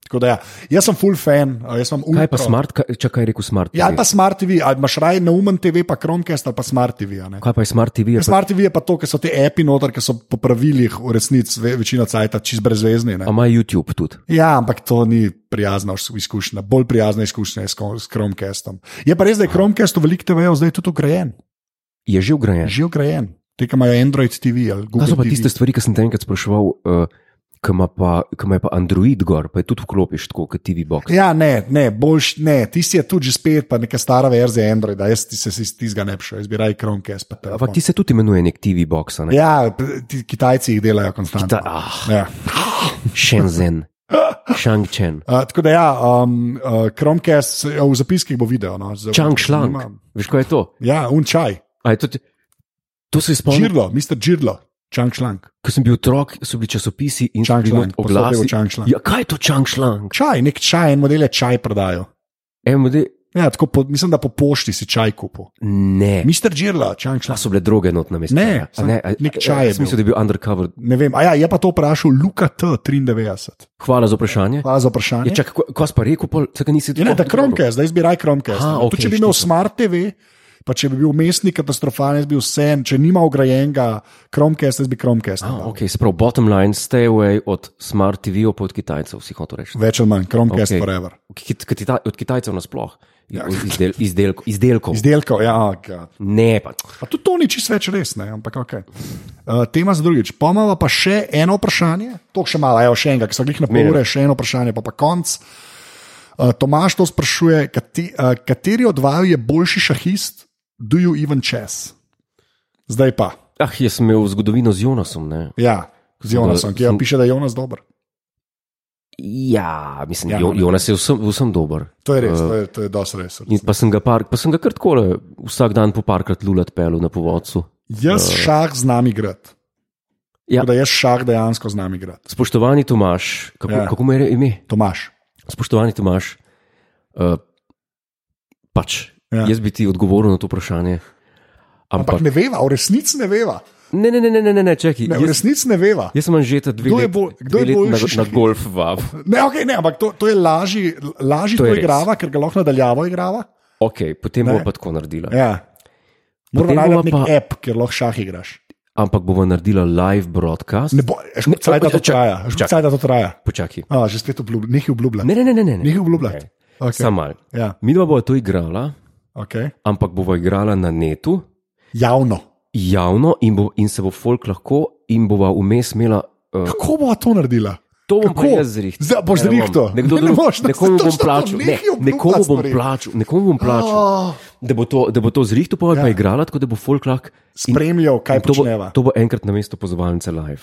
Speaker 2: Tako da, ja. Jaz sem full fan, eh, jaz sem
Speaker 1: Kaj
Speaker 2: ultra.
Speaker 1: je pa smart, kaj, čakaj, rekel smart.
Speaker 2: Ja, ali
Speaker 1: TV?
Speaker 2: pa smart TV, ali imaš raje neumen TV, pa Chromecast ali pa smart TV. a ne.
Speaker 1: Kaj pa je smart TV? Je pa,
Speaker 2: Smart TV je pa to, ker so te api noter, ki so po pravilih v resnici ve- večina cajt čist brezvezni. ne.
Speaker 1: a ima YouTube tudi.
Speaker 2: Ja, ampak to ni prijazna os- izkušnja. Bolj prijazna izkušnja je s Chrome- s Chromecastom. Je pa res, da je Chromecast v velik TV-ju zdaj tudi ugrajen.
Speaker 1: Je že ugrajen.
Speaker 2: Že ugrajen. Te, ki imajo Android TV
Speaker 1: Kaj
Speaker 2: ali Google
Speaker 1: so pa
Speaker 2: TV.
Speaker 1: tiste stvari, ki sem te enkrat spraševal, uh, ki ima pa, ki ima pa Android gor, pa je tudi vklopiš tako kot TV box.
Speaker 2: Ja, ne, ne, boljš, ne, tisti je tudi že spet, pa neka stara verzija Androida, jaz ti se tizga ne bi šel, jaz bi raje Chromecast. pa telefon.
Speaker 1: Ampak ti se tudi imenuje nek TV box, a ne?
Speaker 2: Ja, p- ti, Kitajci jih delajo konstantno.
Speaker 1: Ta, ah,
Speaker 2: Ja.
Speaker 1: Shenzhen, Shangchen,
Speaker 2: Uh, tako da, ja, um, uh, Chromecast ja, v zapiskih bo video. No, za-
Speaker 1: Changshan. Veš kaj je to?
Speaker 2: Ja, unčaj,
Speaker 1: A Je to, ti- to se spomnim,
Speaker 2: Čirlo, Mr. Čirlo, Čangšlang.
Speaker 1: ko sem bil otrok, so bili časopisi in so bili not
Speaker 2: Čangšlang,
Speaker 1: oglasi.
Speaker 2: Čangšlang.
Speaker 1: Ja, kaj je to Changshlang?
Speaker 2: Čaj, nek čaj, en model je čaj prodajo. Ja, tako po, mislim, da po pošti si čaj kupil.
Speaker 1: Ne.
Speaker 2: Mr. Čirlo,
Speaker 1: A
Speaker 2: Čangšlang.
Speaker 1: so bile droge not na mestu?
Speaker 2: Ne,
Speaker 1: a ne a,
Speaker 2: nek čaj je
Speaker 1: Jaz mislim, da je bil undercover.
Speaker 2: Ne vem, a ja, je pa to vprašal Luka T93.
Speaker 1: Hvala za vprašanje.
Speaker 2: Hvala
Speaker 1: Ja,
Speaker 2: za vprašanje.
Speaker 1: čak, ko, ko si pa rekel, pol, tega nisi
Speaker 2: Je ne,
Speaker 1: tako
Speaker 2: da
Speaker 1: dobro.
Speaker 2: Chromecast, zdaj zbiraj Chromecast.
Speaker 1: Aha,
Speaker 2: Aha,
Speaker 1: okej,
Speaker 2: okay, če bi imel
Speaker 1: šteto.
Speaker 2: Smart TV, pa če bi bil mestni katastrofalen, jaz bi vsem, če nima ugrajenega Chromecast, jaz bi Chromecast.
Speaker 1: Ah,
Speaker 2: Ah, okay.
Speaker 1: okay, sprav, bottom line, stay away od smart TV-ov pa od Kitajcev, si hotel reči.
Speaker 2: Več ali manj, Chromecast
Speaker 1: Okej.
Speaker 2: okay. forever.
Speaker 1: Kit- kita- Od Kitajcev nasploh,
Speaker 2: Ja.
Speaker 1: Od izdel, izdelko, izdelkov.
Speaker 2: Izdelkov, ja, okay.
Speaker 1: Ne, pa
Speaker 2: pa tudi to ni čisto več res, ne, ampak ok. Uh, tema za drugič. Pomava pa še eno vprašanje, to še malo, evo še enega, ki so jih na pol
Speaker 1: Meni.
Speaker 2: ure, še eno vprašanje, pa pa konc. Uh, Tomaš to sprašuje, kati, uh, kateri od vaju je boljši šahist, do you even chess? Zdaj pa.
Speaker 1: ah, jaz sem imel zgodovino z Jonasom. Ne?
Speaker 2: Ja, z Jonasom, ki
Speaker 1: Sem-
Speaker 2: jo piše, da je Jonas dober.
Speaker 1: Ja, mislim, ja,
Speaker 2: Ja, ne.
Speaker 1: Jonas je vsem, vsem dober.
Speaker 2: To je res, to je, to je dosti res.
Speaker 1: Eh, In pa sem ga, par, pa sem ga kar tako, vsak dan po parkrat lulat pelu na povodcu.
Speaker 2: Jaz šah znam igrati.
Speaker 1: eh, Ja.
Speaker 2: Ja. Da jaz šah dejansko znam igrati.
Speaker 1: Spoštovani Tomaš, kako, ja.
Speaker 2: Ja.
Speaker 1: kako mu je re- ime?
Speaker 2: Tomaš.
Speaker 1: Spoštovani Tomaš, uh, pač, ja.
Speaker 2: Ja.
Speaker 1: jaz bi ti odgovoril na to vprašanje.
Speaker 2: Ampak
Speaker 1: Ampak,
Speaker 2: ne veva, v resnici ne veva.
Speaker 1: ne, ne, ne, ne, ne, ne, ne čakaj.
Speaker 2: Ne, v
Speaker 1: Jaz,
Speaker 2: resnici ne veva.
Speaker 1: jaz sem že ta dve
Speaker 2: Kdo je
Speaker 1: let-
Speaker 2: bolj- kdo
Speaker 1: dve
Speaker 2: je
Speaker 1: leti
Speaker 2: boljši
Speaker 1: na, na
Speaker 2: šahist?
Speaker 1: golf vab.
Speaker 2: Ne, okay, ne, ampak to, to je lažje, lažje
Speaker 1: To
Speaker 2: to,
Speaker 1: je
Speaker 2: to
Speaker 1: res.
Speaker 2: igrava, ker ga lahko nadaljavo igrava.
Speaker 1: Ok, potem
Speaker 2: Ne.
Speaker 1: bo pa tako naredila. Ja.
Speaker 2: Ja. Moramo
Speaker 1: Potem bova
Speaker 2: najti nek
Speaker 1: pa-
Speaker 2: pa... app, kjer lahko šah igraš.
Speaker 1: Ampak bova naredila live broadcast.
Speaker 2: Ne bo,
Speaker 1: Ne,
Speaker 2: caj, da to
Speaker 1: čakaj,
Speaker 2: traja. a
Speaker 1: čakaj.
Speaker 2: Škoda, da to traja.
Speaker 1: Počakaj.
Speaker 2: A, že spet obljubljam, nekaj obljubljam.
Speaker 1: Ne, ne, ne, ne. ne, ne.
Speaker 2: Nehaj obljubljati.
Speaker 1: Okay.
Speaker 2: Okay.
Speaker 1: Samo.
Speaker 2: Ja,
Speaker 1: Mi dva bova to igrala,
Speaker 2: okay.
Speaker 1: ampak bova igrala na netu,
Speaker 2: Javno.
Speaker 1: javno in, bo, in se bo folk lahko, in bova vmes imela. Uh,
Speaker 2: Kako bo to naredila?
Speaker 1: to bom pa
Speaker 2: Kako?
Speaker 1: jaz zrihtal.
Speaker 2: Zdaj, boš
Speaker 1: Ne bom.
Speaker 2: zrihtal?
Speaker 1: Nekdo
Speaker 2: Ne, ne
Speaker 1: drug,
Speaker 2: moreš, da se
Speaker 1: nekomu bom
Speaker 2: točno to
Speaker 1: plačal, ne,
Speaker 2: nehaj obljubljati
Speaker 1: nekomu bom
Speaker 2: stvari.
Speaker 1: plačal, nekomu bom plačal,
Speaker 2: Oh,
Speaker 1: da bo to, da bo to zrihtal, pa, ja. pa igrala, tako da bo folk lahko. in-
Speaker 2: spremljal, kaj
Speaker 1: in to, bo,
Speaker 2: počneva.
Speaker 1: to bo enkrat na mesto pozvalnice live.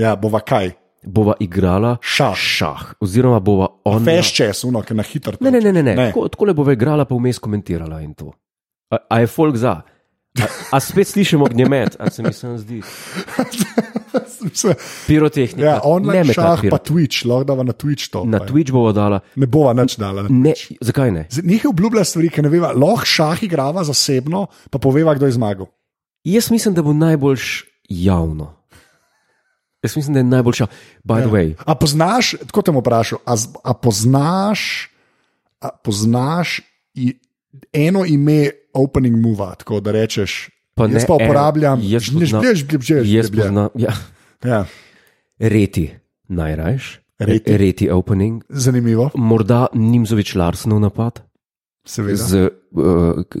Speaker 2: Ja, bova kaj.
Speaker 1: Bova igrala
Speaker 2: Šah.
Speaker 1: šah oziroma bova on.
Speaker 2: Feš čez, uno, ki na hitro.
Speaker 1: Ne, ne, ne, ne, ne.
Speaker 2: Ne.
Speaker 1: Tako, tako le bova igrala, pa vmes komentirala in to. A, a je folk za? A, a spet slišimo gnjemet, a se mi sem zdi.
Speaker 2: Mislim,
Speaker 1: Pirotehnika.
Speaker 2: ja, online
Speaker 1: metati
Speaker 2: šah, pa
Speaker 1: pirotehnika.
Speaker 2: Twitch, lahko dava na Twitch to.
Speaker 1: Na
Speaker 2: pa je.
Speaker 1: Twitch bova dala.
Speaker 2: Ne bova nič dala. Ne.
Speaker 1: Ne, zakaj ne?
Speaker 2: Nekaj obljublja stvari, ki ne veva, lahko šah igrava zasebno, pa poveva, kdo je zmagal.
Speaker 1: Jaz mislim, da bo najboljš javno. Jaz mislim, da je najboljša. By ja. the way,
Speaker 2: A poznaš, tako te bom vprašal, a, z- a poznaš, a poznaš i, eno ime opening move, tako da rečeš.
Speaker 1: Pa ne
Speaker 2: jaz pa
Speaker 1: eno,
Speaker 2: uporabljam,
Speaker 1: jaz
Speaker 2: ne
Speaker 1: poznam-
Speaker 2: želiš, ne
Speaker 1: jaz
Speaker 2: želiš, ne
Speaker 1: poznam ja,
Speaker 2: želiš.
Speaker 1: reti najrajš,
Speaker 2: Reti.
Speaker 1: reti opening,
Speaker 2: Zanimivo,
Speaker 1: morda Nimzovič Larsnov napad
Speaker 2: seveda.
Speaker 1: z uh,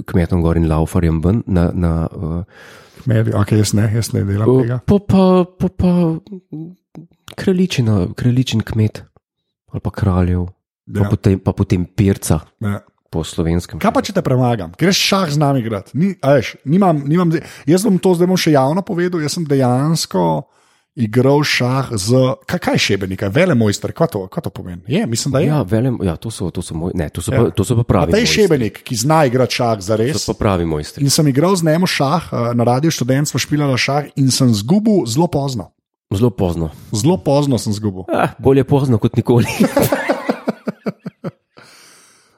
Speaker 1: kmetom Gorin Laufarjem ven. Na, na, uh,
Speaker 2: Meri, ok, jaz ne, jaz ne delam tega.
Speaker 1: po pa, po pa kraljičina, kraljičin kmet ali pa kraljev, ja. pa,
Speaker 2: Ja,
Speaker 1: potem, pa potem pirca
Speaker 2: ne.
Speaker 1: po slovenskem.
Speaker 2: Kaj pa, če te premagam, greš šah z nami igrati? Ni, a veš, nimam, nimam, de- jaz bom to zdaj bom še javno povedal. Jaz sem dejansko igral šah z. Kaj, kaj je šebenik, vele mojster, kaj to, kaj to pomeni? Je, mislim, da je.
Speaker 1: Ja, velem, ja, to so, to so, moj, ne, to so, ja.
Speaker 2: Ja.
Speaker 1: pa, to so pa
Speaker 2: A
Speaker 1: pravi.
Speaker 2: ta je
Speaker 1: mojstri.
Speaker 2: šebenik, ki zna igrati šah za res.
Speaker 1: So pa pravi mojstri.
Speaker 2: In sem igral z njim šah, eh, na radiju študent smo špilali šah in sem zgubil zelo pozno.
Speaker 1: Zelo pozno.
Speaker 2: Zelo pozno sem zgubil.
Speaker 1: Ah, bolje pozno kot nikoli.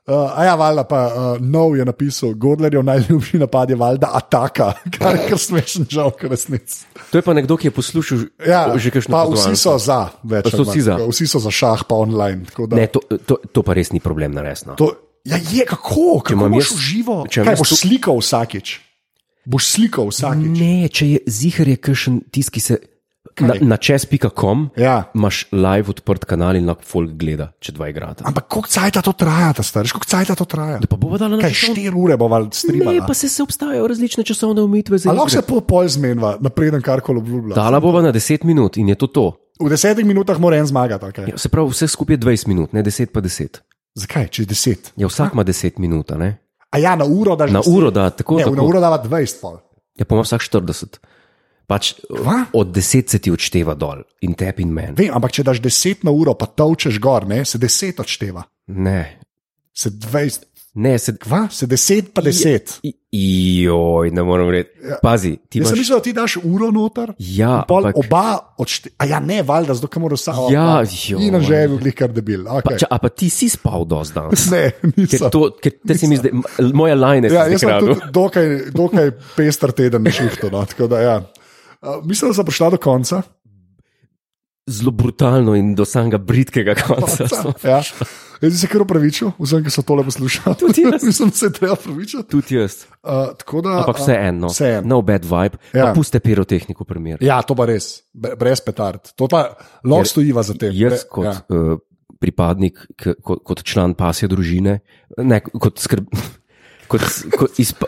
Speaker 2: Uh, a ja, valjda pa uh, nov je napisal, Godlerjev najljubši napad je valjda ataka, kar je kar smešen žal, ker resnici.
Speaker 1: to je pa nekdo, ki je poslušal ja,
Speaker 2: Ja,
Speaker 1: že kakšno
Speaker 2: pa
Speaker 1: pozvanje.
Speaker 2: vsi so za, več
Speaker 1: Pa so
Speaker 2: ali manj,
Speaker 1: vsi za.
Speaker 2: tako, vsi so za šah, pa online. tako Da,
Speaker 1: Ne, to, to, to pa res ni problem, no. na resno.
Speaker 2: to, ja, je kako, kako
Speaker 1: imam
Speaker 2: boš
Speaker 1: jaz-
Speaker 2: jaz, živo.
Speaker 1: če imam
Speaker 2: Kaj
Speaker 1: jaz Mm.
Speaker 2: boš
Speaker 1: tu-
Speaker 2: slikal vsakič? Boš slikal vsakič.
Speaker 1: Ne, če je zihar je kakšen tisk, ki se na,
Speaker 2: Kaj?
Speaker 1: na čez.com
Speaker 2: Ja.
Speaker 1: imaš live odprt kanal in lahko folk gleda, če dva igrata.
Speaker 2: Ampak koliko cajt to traja, ta stariš, koliko cajt to traja?
Speaker 1: Pa bo dala na
Speaker 2: Kaj štiri ure bo valjda
Speaker 1: Ne,
Speaker 2: streamala.
Speaker 1: pa se, se obstajajo različne časovne omejitve za
Speaker 2: A lahko
Speaker 1: igre.
Speaker 2: se pol pol zmenjava, napreden kar koli obljublja.
Speaker 1: Dala bova na 10 minut in je to to.
Speaker 2: v desetih minutah mora en zmagati. Okay.
Speaker 1: Ja, se pravi, vse skupaj je 20 minut, ne 10 pa 10.
Speaker 2: Zakaj, če je deset?
Speaker 1: Ja, vsak ima 10 minut, a ne?
Speaker 2: A ja, na uro daš
Speaker 1: Na
Speaker 2: deset.
Speaker 1: uro da tako.
Speaker 2: Ne,
Speaker 1: tako.
Speaker 2: na uro dava 20. Pol.
Speaker 1: Ja, pa ima vsak 40. Pač
Speaker 2: Kva?
Speaker 1: od 10 se ti odšteva dol in tep in men.
Speaker 2: Vem, ampak če daš 10 na uro, pa tavčeš gor, ne, se 10 odšteva.
Speaker 1: Ne,
Speaker 2: Se 20,
Speaker 1: ne, se.
Speaker 2: kva, se 10 pa 10.
Speaker 1: I- Joj, ne morem reči. Pazi, ti
Speaker 2: Ja.
Speaker 1: imaš.
Speaker 2: Jaz sem mislil, da ti daš uro noter.
Speaker 1: Ja,
Speaker 2: Pol
Speaker 1: ampak,
Speaker 2: oba odšteva. A ja, ne, valjda, zato ker moraš samo.
Speaker 1: Ja, jo.
Speaker 2: in že je bil glih kar debil.
Speaker 1: pa,
Speaker 2: Okay.
Speaker 1: če, a pa ti si spal dosti danes.
Speaker 2: Ne,
Speaker 1: Ker
Speaker 2: nisem.
Speaker 1: to, ker te se mi zdi, m- moja lajna
Speaker 2: Ja,
Speaker 1: je
Speaker 2: jaz sem
Speaker 1: zgrabila.
Speaker 2: tudi dokaj, dokaj pester teden na šihtu. No, tako da, ja. Uh, mislim, da sem prišla do konca.
Speaker 1: Zelo brutalno in do samega britkega konca. smo.
Speaker 2: Ja. Jaz bi se kar upravičil, vsem, ki so tole poslušali.
Speaker 1: Tudi jaz.
Speaker 2: mislim, da se je treba upravičiti.
Speaker 1: Tudi jaz.
Speaker 2: Uh, tako da,
Speaker 1: Ampak
Speaker 2: a-
Speaker 1: vseeno,
Speaker 2: vseeno.
Speaker 1: no bad vibe.
Speaker 2: Ja.
Speaker 1: Ja. Puste pirotehniko primer.
Speaker 2: Ja, to pa res, Bre- brez petard. To pa lahko stojiva za tem.
Speaker 1: Jaz
Speaker 2: Bre-
Speaker 1: kot
Speaker 2: ja.
Speaker 1: ja. uh, pripadnik, k, kot, kot član pasje družine, ne kot skrb. Kot, kot, izpa,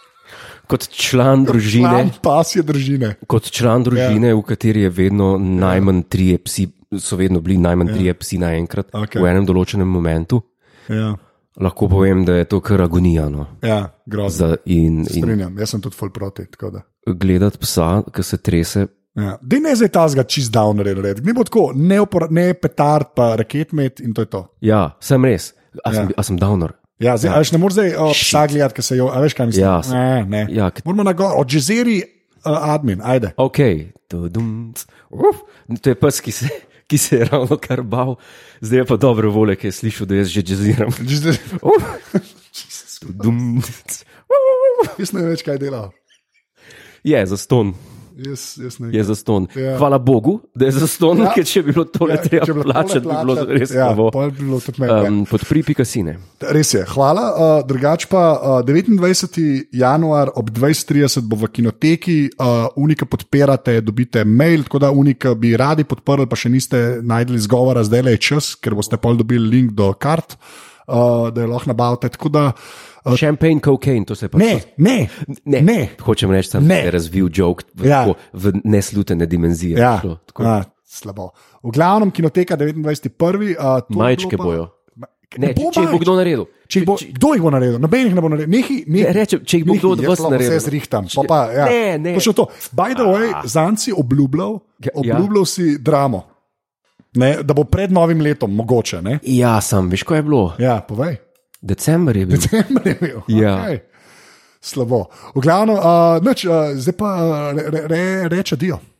Speaker 1: kot član družine,
Speaker 2: Plan pas je držine.
Speaker 1: kot član družine ja. v kateri je vedno najmanj tri psi, so vedno bili najmanj ja. tri psi naenkrat,
Speaker 2: Okej.
Speaker 1: okay. v enem določenem momentu,
Speaker 2: Ja,
Speaker 1: lahko povem, da je to kar agonija. No.
Speaker 2: ja grozno.
Speaker 1: Za, in, in
Speaker 2: Strinjam, jaz sem tudi ful proti. tako da.
Speaker 1: gledati psa, ki se trese,
Speaker 2: Ja. Dej ne zdaj ta zga čist down red. Ne bo tako, ne, upora- ne petard, pa raketmet in to je to.
Speaker 1: ja, sem res, a
Speaker 2: Ja.
Speaker 1: sem, ja. sem downer.
Speaker 2: Ja, zdaj, ja. Veš, ne moreš zdaj o, psa gledati, ki se jo, a veš kaj mislim.
Speaker 1: Ja, se-
Speaker 2: ne, ne.
Speaker 1: Ja, k-
Speaker 2: Moramo na gor, od Jezeri, uh, admin, ajde.
Speaker 1: Ok, tudum, c- uf, to je pes, ki se, ki se je ravno kar bal, zdaj je pa dobro volje, ki je slišal, da jaz že džeziram.
Speaker 2: Jezeri,
Speaker 1: Uf. Tudum, c- uf.
Speaker 2: jaz ne vem več, kaj dela.
Speaker 1: Je za ston,
Speaker 2: Jaz, jaz ne.
Speaker 1: je za ston.
Speaker 2: Ja.
Speaker 1: Hvala Bogu, da je za ston, ja. ker če bi bilo tole ja, treba
Speaker 2: če bi bilo tole
Speaker 1: plačati, bi bilo
Speaker 2: plačati,
Speaker 1: res
Speaker 2: ja,
Speaker 1: slabo.
Speaker 2: pol bi bilo tudi meni, ja.
Speaker 1: Um, Podpri pikasine.
Speaker 2: Res je, hvala. Uh, drugač pa uh, 29. januar ob 20.30 bo v kinoteki, uh, unika podpirate, dobite mail, tako da unika bi radi podprli, pa še niste najdeli izgovora, zdaj le je čas, ker boste pol dobili link do kart, uh, da jo lahko nabavite. Tako da, uh,
Speaker 1: Champagne, cocaine, to se pa
Speaker 2: ne, ne,
Speaker 1: Ne,
Speaker 2: ne.
Speaker 1: hočem reči, samo, da
Speaker 2: Ne.
Speaker 1: je razvil joke v,
Speaker 2: Ja.
Speaker 1: ja. v neslutene dimenzije.
Speaker 2: Ja,
Speaker 1: Šlo, tako.
Speaker 2: a, slabo. V glavnem kinoteka 29.1. Uh, to je bilo
Speaker 1: Majčke
Speaker 2: pa-
Speaker 1: bojo.
Speaker 2: Ma-
Speaker 1: Ne,
Speaker 2: bo
Speaker 1: če jih bo
Speaker 2: majčk.
Speaker 1: kdo naredil.
Speaker 2: Če jih bo, kdo jih bo naredil? Noben jih ne bo naredil. Nehi, nehi,
Speaker 1: Ne,
Speaker 2: ja,
Speaker 1: Ja, rečem, če jih bo kdo od vas naredil.
Speaker 2: Vse zrihtam. Pa, pa, ja.
Speaker 1: Ne, ne. Ah.
Speaker 2: Točno to. By the way, Zanci obljubljal,
Speaker 1: Ja, ja.
Speaker 2: obljubljal si dramo. Ne, da bo pred novim letom, mogoče. Ne?
Speaker 1: Ja, sam veš, kaj je bilo.
Speaker 2: Ja, povej.
Speaker 1: December je bil.
Speaker 2: December je bil.
Speaker 1: Ja.
Speaker 2: Okay. Slabo. V glavnem, uh, nič, uh, zdaj pa uh, re, re, reče dio.